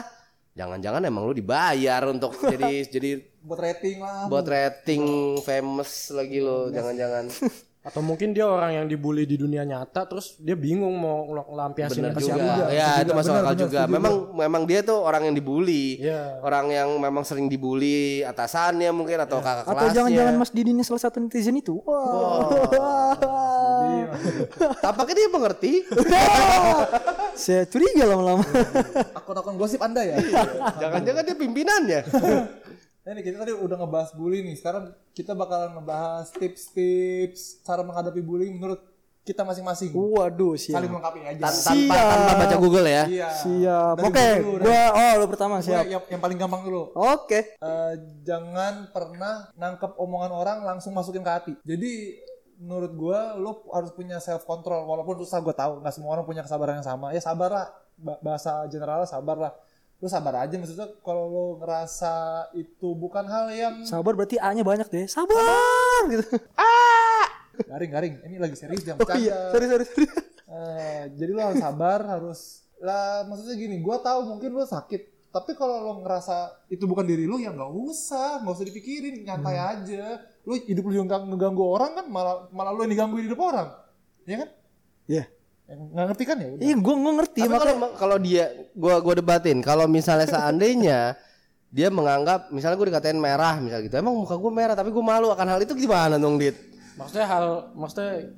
jangan-jangan emang lu dibayar untuk jadi jadi buat rating lah. buat rating famous lagi lo jangan-jangan Atau mungkin dia orang yang dibully di dunia nyata terus dia bingung mau ngel- Bener ngelampiasinnya ke juga. siapa. Ya, itu masuk akal juga. Memang memang dia tuh orang yang dibully. Iya. Orang yang memang sering dibully atasannya mungkin Iya. atau kakak Atau kelasnya. jangan-jangan Mas Didi ini salah satu netizen itu. Wah. Tampaknya dia mengerti. Saya curiga lama-lama. Hmm. Akun-akun gosip anda ya. Iya. jangan-jangan dia pimpinannya. Nah, Ini kita tadi udah ngebahas bully nih. Sekarang kita bakalan ngebahas tips-tips cara menghadapi bullying menurut kita masing-masing. Waduh, siap. Saling melengkapi aja. Tan- tanpa tanpa baca Google ya. Iya. Siap. Dari Oke, dulu, dari- gua oh lu pertama Gua siap. yang, yang paling gampang dulu. Oke. Eh, jangan pernah nangkep omongan orang langsung masukin ke hati. Jadi menurut gua lo harus punya self control walaupun susah gua tahu nggak semua orang punya kesabaran yang sama. Ya sabarlah Ba- bahasa general sabarlah. Lo sabar aja maksudnya kalau lo ngerasa itu bukan hal yang Sabar berarti A-nya banyak deh. Sabar gitu. garing-garing. Ini lagi serius jam Oh iya, sorry sorry sorry. Eh, jadi lo harus sabar, harus lah maksudnya gini, gua tahu mungkin lo sakit, tapi kalau lo ngerasa itu bukan diri lo ya nggak usah, nggak usah dipikirin, nyantai aja. Lo hidup lo yang gang- ngeganggu orang kan, malah malah lo yang digangguin hidup orang, ya kan? Iya. Eh, Nggak ngerti kan ya? udah. Iya, gua gua ngerti Tapi makanya kalau kalau dia gua gua debatin kalau misalnya seandainya dia menganggap misalnya gue dikatain merah misalnya gitu emang muka gue merah tapi gue malu akan hal itu gimana dong dit Maksudnya hal maksudnya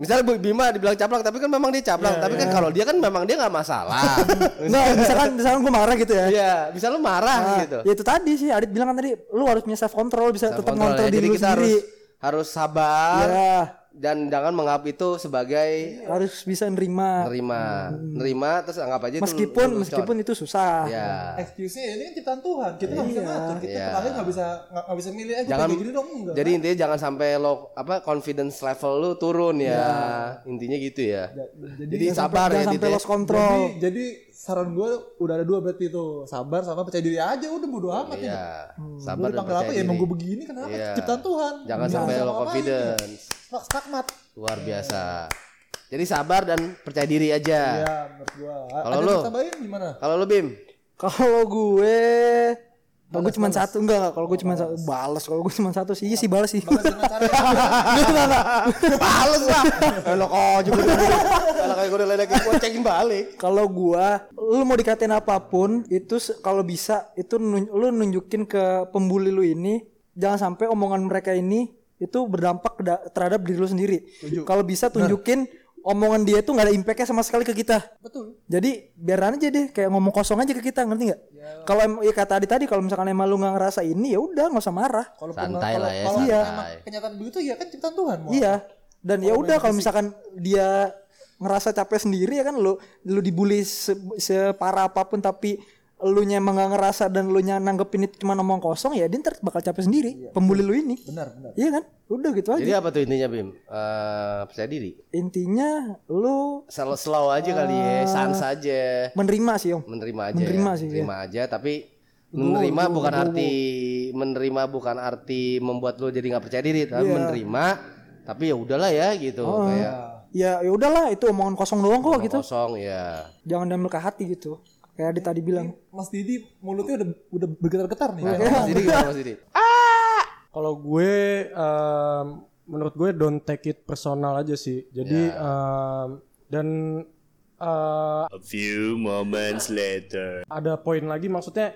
misalnya Bu Bima dibilang caplak tapi kan memang dia caplak tapi kan kalau dia kan memang dia nggak masalah Enggak, misalkan misalkan gua marah gitu ya. Iya, bisa lu marah Nah, gitu. Ya itu tadi sih Adit bilang kan tadi lu harus punya self control bisa tetap Kontrol ngontrol ya. diri Jadi lu kita harus sendiri. harus sabar Ya, dan jangan menganggap itu sebagai harus bisa nerima. nerima, nerima terus anggap aja itu lu- Hmm. Meskipun lu meskipun Eh, itu susah. ya. Excuse-nya ini kan ciptaan Tuhan, kita nggak bisa ngatur, kita Iya. petanya nggak bisa nggak nggak bisa milih gitu aja Jangan- kayak gini dong enggak. Jadi intinya jangan sampai lo apa confidence level lu turun ya. Intinya gitu ya. jadi Iya. Jadi Jangan sampai- sabar ya jangan sampai Dit, ya. lost control. jadi, jadi saran gue udah ada dua berarti itu sabar sama percaya diri aja udah bodo amat Iya. ya. Hmm. Sabar Gue dipanggil dan percaya apa ya diri. emang gue begini kenapa Iya. ciptaan Tuhan Iya. Jangan sampai lo confidence. Mak stakmat Luar biasa. Jadi sabar dan percaya diri Iya. aja. Ya menurut gua A- Kalau ada lu? yang tambahin gimana? Kalau lo Bim, Kalau gue kalau gue cuma satu enggak enggak. kalau gue cuma satu balas kalau gue cuma satu sih iya sih balas sih Dengan cara Males lah. Elok aja gue. Kalau kayak gue udah ledekin gue cekin balik. kalau gua lu mau dikatain apapun itu se- kalau bisa itu nun- lu nunjukin ke pembuli lu ini jangan sampai omongan mereka ini itu berdampak keda- terhadap diri lu sendiri. Kalau bisa tunjukin omongan dia itu nggak ada impactnya sama sekali ke kita. Betul. Jadi biaran aja deh kayak ngomong kosong aja ke kita ngerti nggak? Kalau em- ya kata Adi tadi kalau misalkan emang lu nggak ngerasa ini ya udah nggak usah marah. Kalau Santai lah ya, Kalau santai. emang kenyataan begitu ya kan ciptaan Tuhan. mau Iya. Dan ya udah kalau misalkan dia ngerasa capek sendiri ya kan lu lu dibully se- separah apapun tapi lu emang nggak ngerasa dan lu nanggepin itu cuma ngomong kosong ya dia ntar bakal capek sendiri pembuli lu ini Benar, benar. iya kan udah gitu aja Jadi apa tuh intinya Bim? Eh percaya diri. intinya lu Slow, slow aja Ah. kali ya, sans aja. menerima sih om menerima aja Menerima ya. sih, iya. menerima aja tapi menerima bukan arti menerima bukan arti membuat lo jadi nggak percaya diri Iya. tapi menerima tapi ya udahlah ya gitu kayak ya ya udahlah itu omongan kosong doang Iya. kok Oh. gitu kosong ya jangan diambil ke hati gitu kayak Adi tadi bilang Mas Didi mulutnya udah udah bergetar-getar Iya. nih. nah, kalau Mas Didi gimana Mas Didi? Kalau gue em, menurut gue don't take it personal aja sih. Jadi Ya. em, dan eh, A few moments later. ada poin lagi maksudnya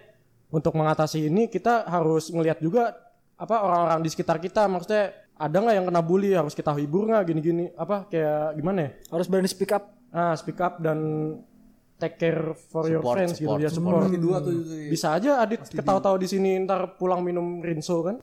untuk mengatasi ini kita harus ngelihat juga apa orang-orang di sekitar kita maksudnya ada nggak yang kena bully harus kita hibur nggak gini-gini apa kayak gimana ya? harus berani speak up Nah, speak up dan take care for your Support, friends support, gitu ya support. Dua tuh itu. Bisa aja Adit ketawa-tawa di sini ntar pulang minum rinso kan?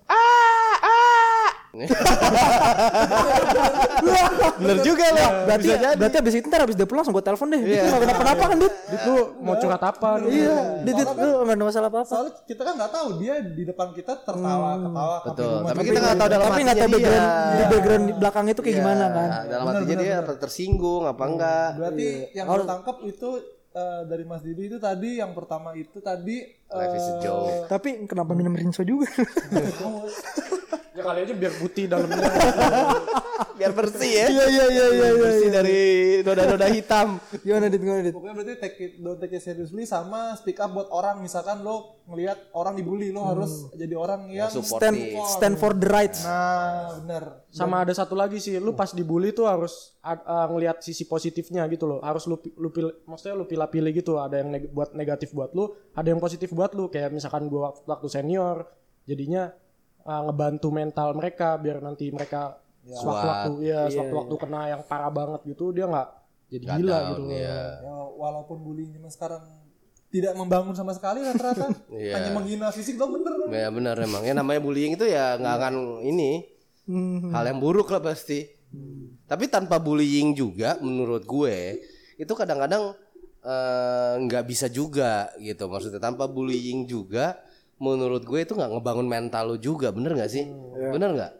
bener juga lo Nah, berarti berarti abis itu ntar abis dia pulang langsung gue telepon deh Dit, lu nggak kenapa-napa kan dit Dit lu mau curhat apa? gitu. Iya, dit, dit, lu nggak ada masalah apa-apa. Soalnya kita kan nggak tahu dia di depan kita tertawa, ketawa, betul rumah. tapi kita nggak tahu dalam Tapi nggak hatinya tahu dia background di background di belakang itu kayak Iya, gimana kan? dalam hatinya dia apa tersinggung Oh. apa enggak Berarti yang Iya. harus tangkap itu eh, dari Mas Didi itu tadi yang pertama itu tadi eh, life is a joke Tapi kenapa minum rinso juga? Ya kali aja biar putih dalamnya. biar bersih ya Iya iya iya iya. bersih dari noda-noda hitam Gimana dit gimana dit? pokoknya berarti take it, don't take it seriously sama speak up buat orang misalkan lo ngelihat orang dibully lo harus jadi orang yang Ya, Stand Iya. stand for the rights. nah benar Sama ada satu lagi sih, lu pas dibully tuh harus ad- eh, ngelihat sisi positifnya gitu loh. Harus lu pi- lu pil- maksudnya lu pilih-pilih gitu. Ada yang neg- buat negatif buat lu, ada yang positif buat lu. Kayak misalkan gua waktu, waktu senior, jadinya eh, ngebantu mental mereka biar nanti mereka sewaktu-waktu ya sewaktu-waktu kena yang parah banget gitu dia nggak jadi gila gitu. loh. iya. ya, walaupun bullying zaman sekarang tidak membangun sama sekali rata-rata Iya. hanya menghina fisik lo bener lo. Ya benar emang ya namanya bullying itu ya Iya. nggak akan ini Hmm. hal yang buruk lah pasti. Tapi tanpa bullying juga menurut gue itu kadang-kadang eh, nggak bisa juga gitu maksudnya tanpa bullying juga menurut gue itu nggak ngebangun mental lo juga bener nggak sih Hmm, iya. bener nggak?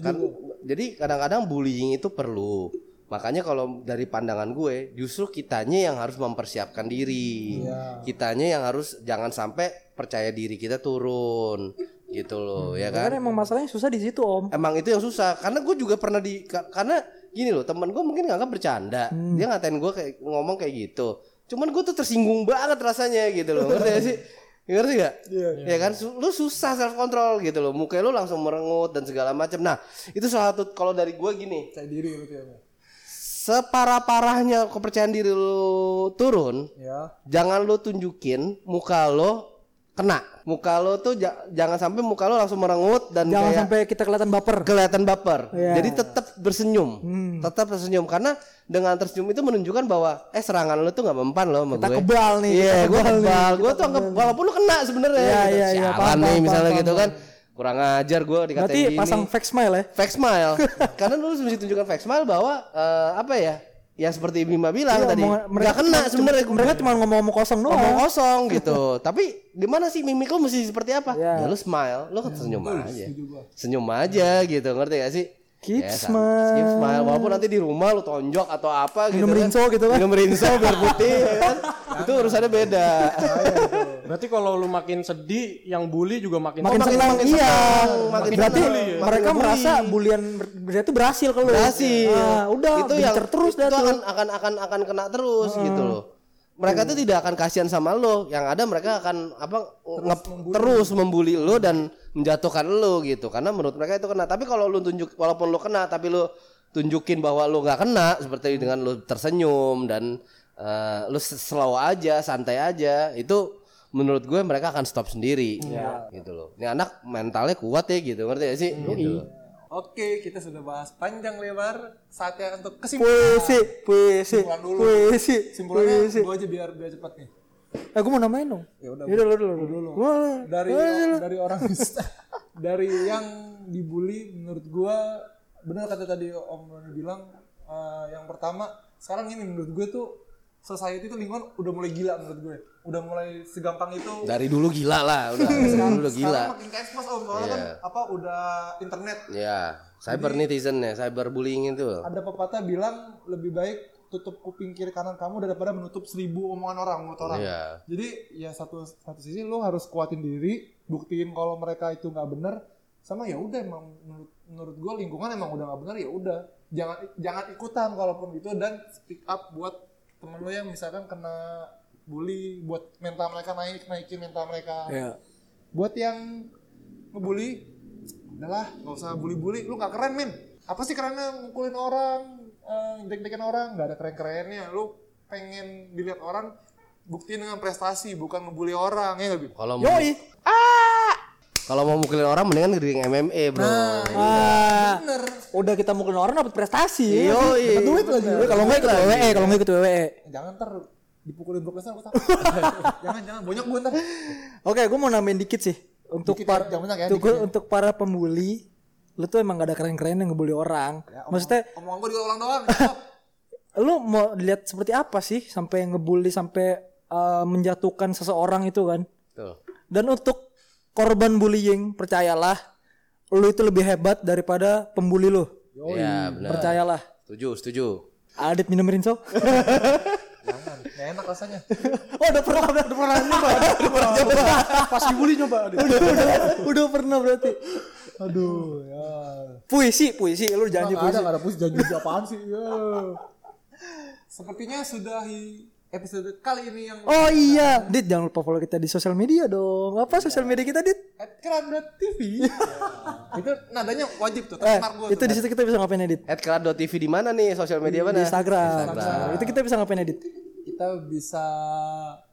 Kan- jadi kadang-kadang bullying itu perlu makanya kalau dari pandangan gue justru kitanya yang harus mempersiapkan diri kitanya yang harus jangan sampai percaya diri kita turun gitu loh ya kan Kan emang masalahnya susah di situ om. emang itu yang susah karena gue juga pernah di ka- karena gini loh teman gue mungkin nganggap bercanda Hmm. dia ngatain gue kayak ngomong kayak gitu cuman gue tuh tersinggung banget rasanya gitu loh ngerti gak sih ngerti gak Iya. ya kan Su- lu susah self control gitu loh muka lu langsung merengut dan segala macam nah itu salah satu kalau dari gue gini percaya diri gitu ya separah parahnya kepercayaan diri lu turun ya Iya. jangan lu tunjukin muka lo kena muka lo tuh ja- jangan sampai muka lo langsung merengut dan Jangan kayak- sampai kita kelihatan baper. kelihatan baper. Iya. Jadi tetap bersenyum, Hmm. tetap bersenyum karena dengan tersenyum itu menunjukkan bahwa eh serangan lu tuh nggak mempan loh sama Kita gue. kebal nih. Iya, kita gue kebal nih. kebal. Gue tuh anggap walaupun lu kena sebenarnya. Iya, gitu. iya, iya, Sialan paham, nih paham, misalnya paham, gitu kan. Kurang ajar gue dikatain Berarti gini. pasang fake smile ya. Fake smile. karena lu mesti tunjukkan fake smile bahwa eh, apa ya? Ya seperti Bima bilang tadi, Omongan- nggak kena Iya, cuma- sebenarnya. cuma- Mereka cuma ngomong-ngomong kosong Omong doang. kosong gitu. Tapi gimana sih mimik lu mesti seperti apa? Ya lu smile, lu senyum aja. Senyum aja gitu, ngerti gak sih? Keep sam- smile. Keep smile. Walaupun nanti di rumah lu tonjok atau apa gitu. Minum kan. rinso gitu kan. Minum rinso biar putih ya kan. Itu urusannya beda. Berarti kalau lu makin sedih, yang bully juga makin Makin makin- senang makin iya. senang, makin Berarti senang. Makin mereka bully. merasa bulian ber- berarti berhasil kalau. Berhasil. Ah, udah itu yang bincer terus dah itu tuh. Ah. akan akan akan akan kena terus gitu loh. Mereka Iya. tuh tidak akan kasihan sama lo, yang ada mereka akan apa ngep- terus membuli lo dan menjatuhkan lo gitu. Karena menurut mereka itu kena. Tapi kalau lo tunjuk walaupun lo kena tapi lo tunjukin bahwa lo nggak kena seperti dengan lo tersenyum dan eh, lo slow aja, santai aja, itu menurut Iya. gue mereka akan stop sendiri gitu loh. Ini anak mentalnya kuat ya gitu, ngerti gak sih? Gitu loh. Oke, kita sudah bahas panjang lebar. Saatnya untuk kesimpulan. Puisi, puisi, Simpulan dulu. puisi, Simpulannya puisi. gua aja biar biar cepat nih. Eh, gua mau namain dong. Ya udah. Yaudah, lu dulu. lu dulu. dulu. Gua dulu. Dari dari orang dari yang dibully menurut gua benar kata tadi Om Roni bilang eh, yang pertama sekarang ini menurut gue tuh society itu lingkungan udah mulai gila menurut gue. Udah mulai segampang itu Dari dulu gila lah, udah. Dari dulu gila. sekarang makin ke expose om soalnya kan apa udah internet Ya, cyber netizen ya, cyber bullying itu. ada pepatah bilang lebih baik tutup kuping kiri kanan kamu daripada menutup seribu omongan orang mulut orang Iya. jadi ya satu satu sisi lo harus kuatin diri buktiin kalau mereka itu nggak bener sama ya udah emang menurut menurut gue lingkungan emang udah nggak bener ya udah jangan jangan ikutan kalaupun gitu dan speak up buat temen lo yang misalkan kena bully buat mental mereka naik naikin mental mereka Iya. buat yang ngebully adalah nggak usah bully-bully lu nggak keren min apa sih kerennya ngukulin orang eh, deg-degan orang nggak ada keren-kerennya lu pengen dilihat orang buktiin dengan prestasi bukan ngebully orang ya nggak Bib? Kalau mau Yoi. kalau mau mukulin orang mendingan ngering MMA, Bro. Ah, bener udah kita mukulin orang dapat prestasi. Yoi. Dapat duit lagi. Kalau nggak ikut WWE, kalau nggak ikut E. WWE. Eh, jangan ter dipukulin Brock Lesnar gue takut jangan jangan banyak gue ntar Oke, gue mau nambahin dikit sih untuk Dikit ya, para jangan banyak ya, untuk, dikit ya. untuk para pembuli, lu tuh emang gak ada keren-keren yang ngebully orang. Maksudnya omongan gue diulang doang stop. lu mau dilihat seperti apa sih sampai ngebully sampai uh, menjatuhkan seseorang itu kan? Tuh. Dan untuk korban bullying, percayalah lu itu lebih hebat daripada pembuli lu. Iya, benar. Percayalah. Setuju, setuju. Adit minum Rinso. jangan nggak enak rasanya oh, udah pernah, udah pernah nyoba. Udah pernah nyoba. pas dibully nyoba aduh. udah, udah, udah pernah berarti. aduh ya Puisi, puisi, lu janji Nggak ada puisi. nggak ada puisi janji apaan sih ya. sepertinya sudahi episode kali ini yang Oh iya, Dit jangan lupa follow kita di sosial media dong. Apa sosial media kita, Dit? at Keranda TV. itu nadanya wajib tuh, Eh, trademark gue itu di situ kita bisa ngapain edit? At TV di mana nih? Sosial media Di mana? Instagram. Itu kita bisa ngapain edit? Kita bisa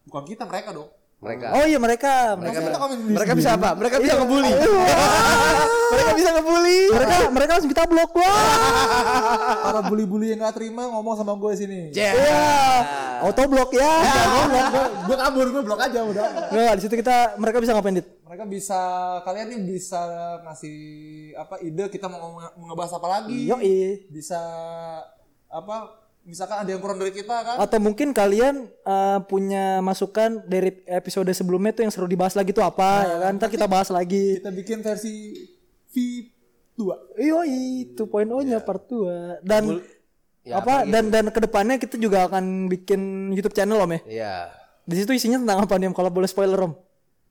bukan kita mereka dong. Mereka. Oh iya mereka, mereka, mereka, kita komen di mereka bisa apa? Mereka bisa ngebully. mereka bisa ngebully. Mereka mereka langsung kita blok. Wah. Para bully-bully yang gak terima ngomong sama gue sini. Iya. Yeah. Auto blok ya. gue kabur, gue blok aja udah. Enggak, di situ kita mereka bisa ngapain edit? Mereka bisa kalian nih bisa ngasih apa ide kita mau ngomong- mau ngebahas apa lagi. Yo Bisa apa misalkan ada yang kurang dari kita kan. Atau mungkin kalian eh, punya masukan dari episode sebelumnya tuh yang seru dibahas lagi tuh apa ya kan? Ntar kita bahas lagi. Kita bikin versi V2. Yoi, 2.0-nya iya, part 2. Dan Ya, apa dan dan kedepannya kita juga akan bikin YouTube channel Om ya. Iya. Di situ isinya tentang apa nih Om kalau boleh spoiler Om?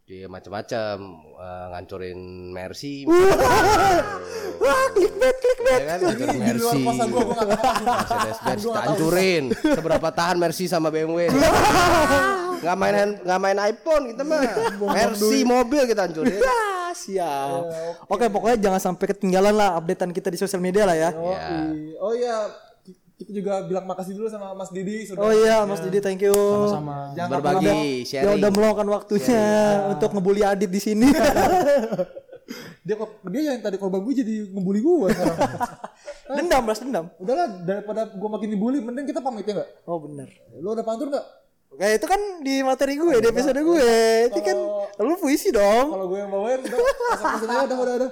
Dia macam-macam eh, ngancurin Mercy. Wah, clickbait, clickbait. Ya kan, ngancurin Di luar Mercy. kuasa gue, gue gak tahu. Mercedes Benz kita hancurin. Seberapa tahan Mercy sama BMW? Gak main hand- nggak main iPhone kita mah. Mercy mobil kita hancurin. Ah, siap. Ya, Oke, pokoknya jangan sampai ketinggalan lah updatean kita di sosial media lah ya. Oh, i- oh iya, Ki- kita juga bilang makasih dulu sama Mas Didi sudah Oh iya, Mas Didi, thank you. sama jangan pernah- Berbagi, Ya sharing. udah meluangkan waktunya untuk ngebully Adit di sini. dia kok dia yang tadi korban gue jadi ngebully gue sekarang. dendam, balas dendam. Udahlah daripada gue makin dibully mending kita pamit ya enggak? Oh benar. Lu ada pantun enggak? Kayak itu kan di materi gue, di episode gue. Itu kan lu puisi dong. Kalau gue yang bawain udah Nah. pesan-pesan aja udah udah udah.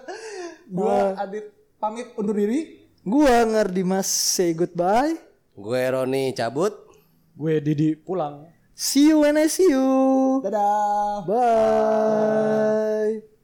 Gue Adit pamit undur diri. Gua Ngardimas say goodbye. Gue Roni cabut. gue Didi pulang See you when I see you. Dadah. Bye.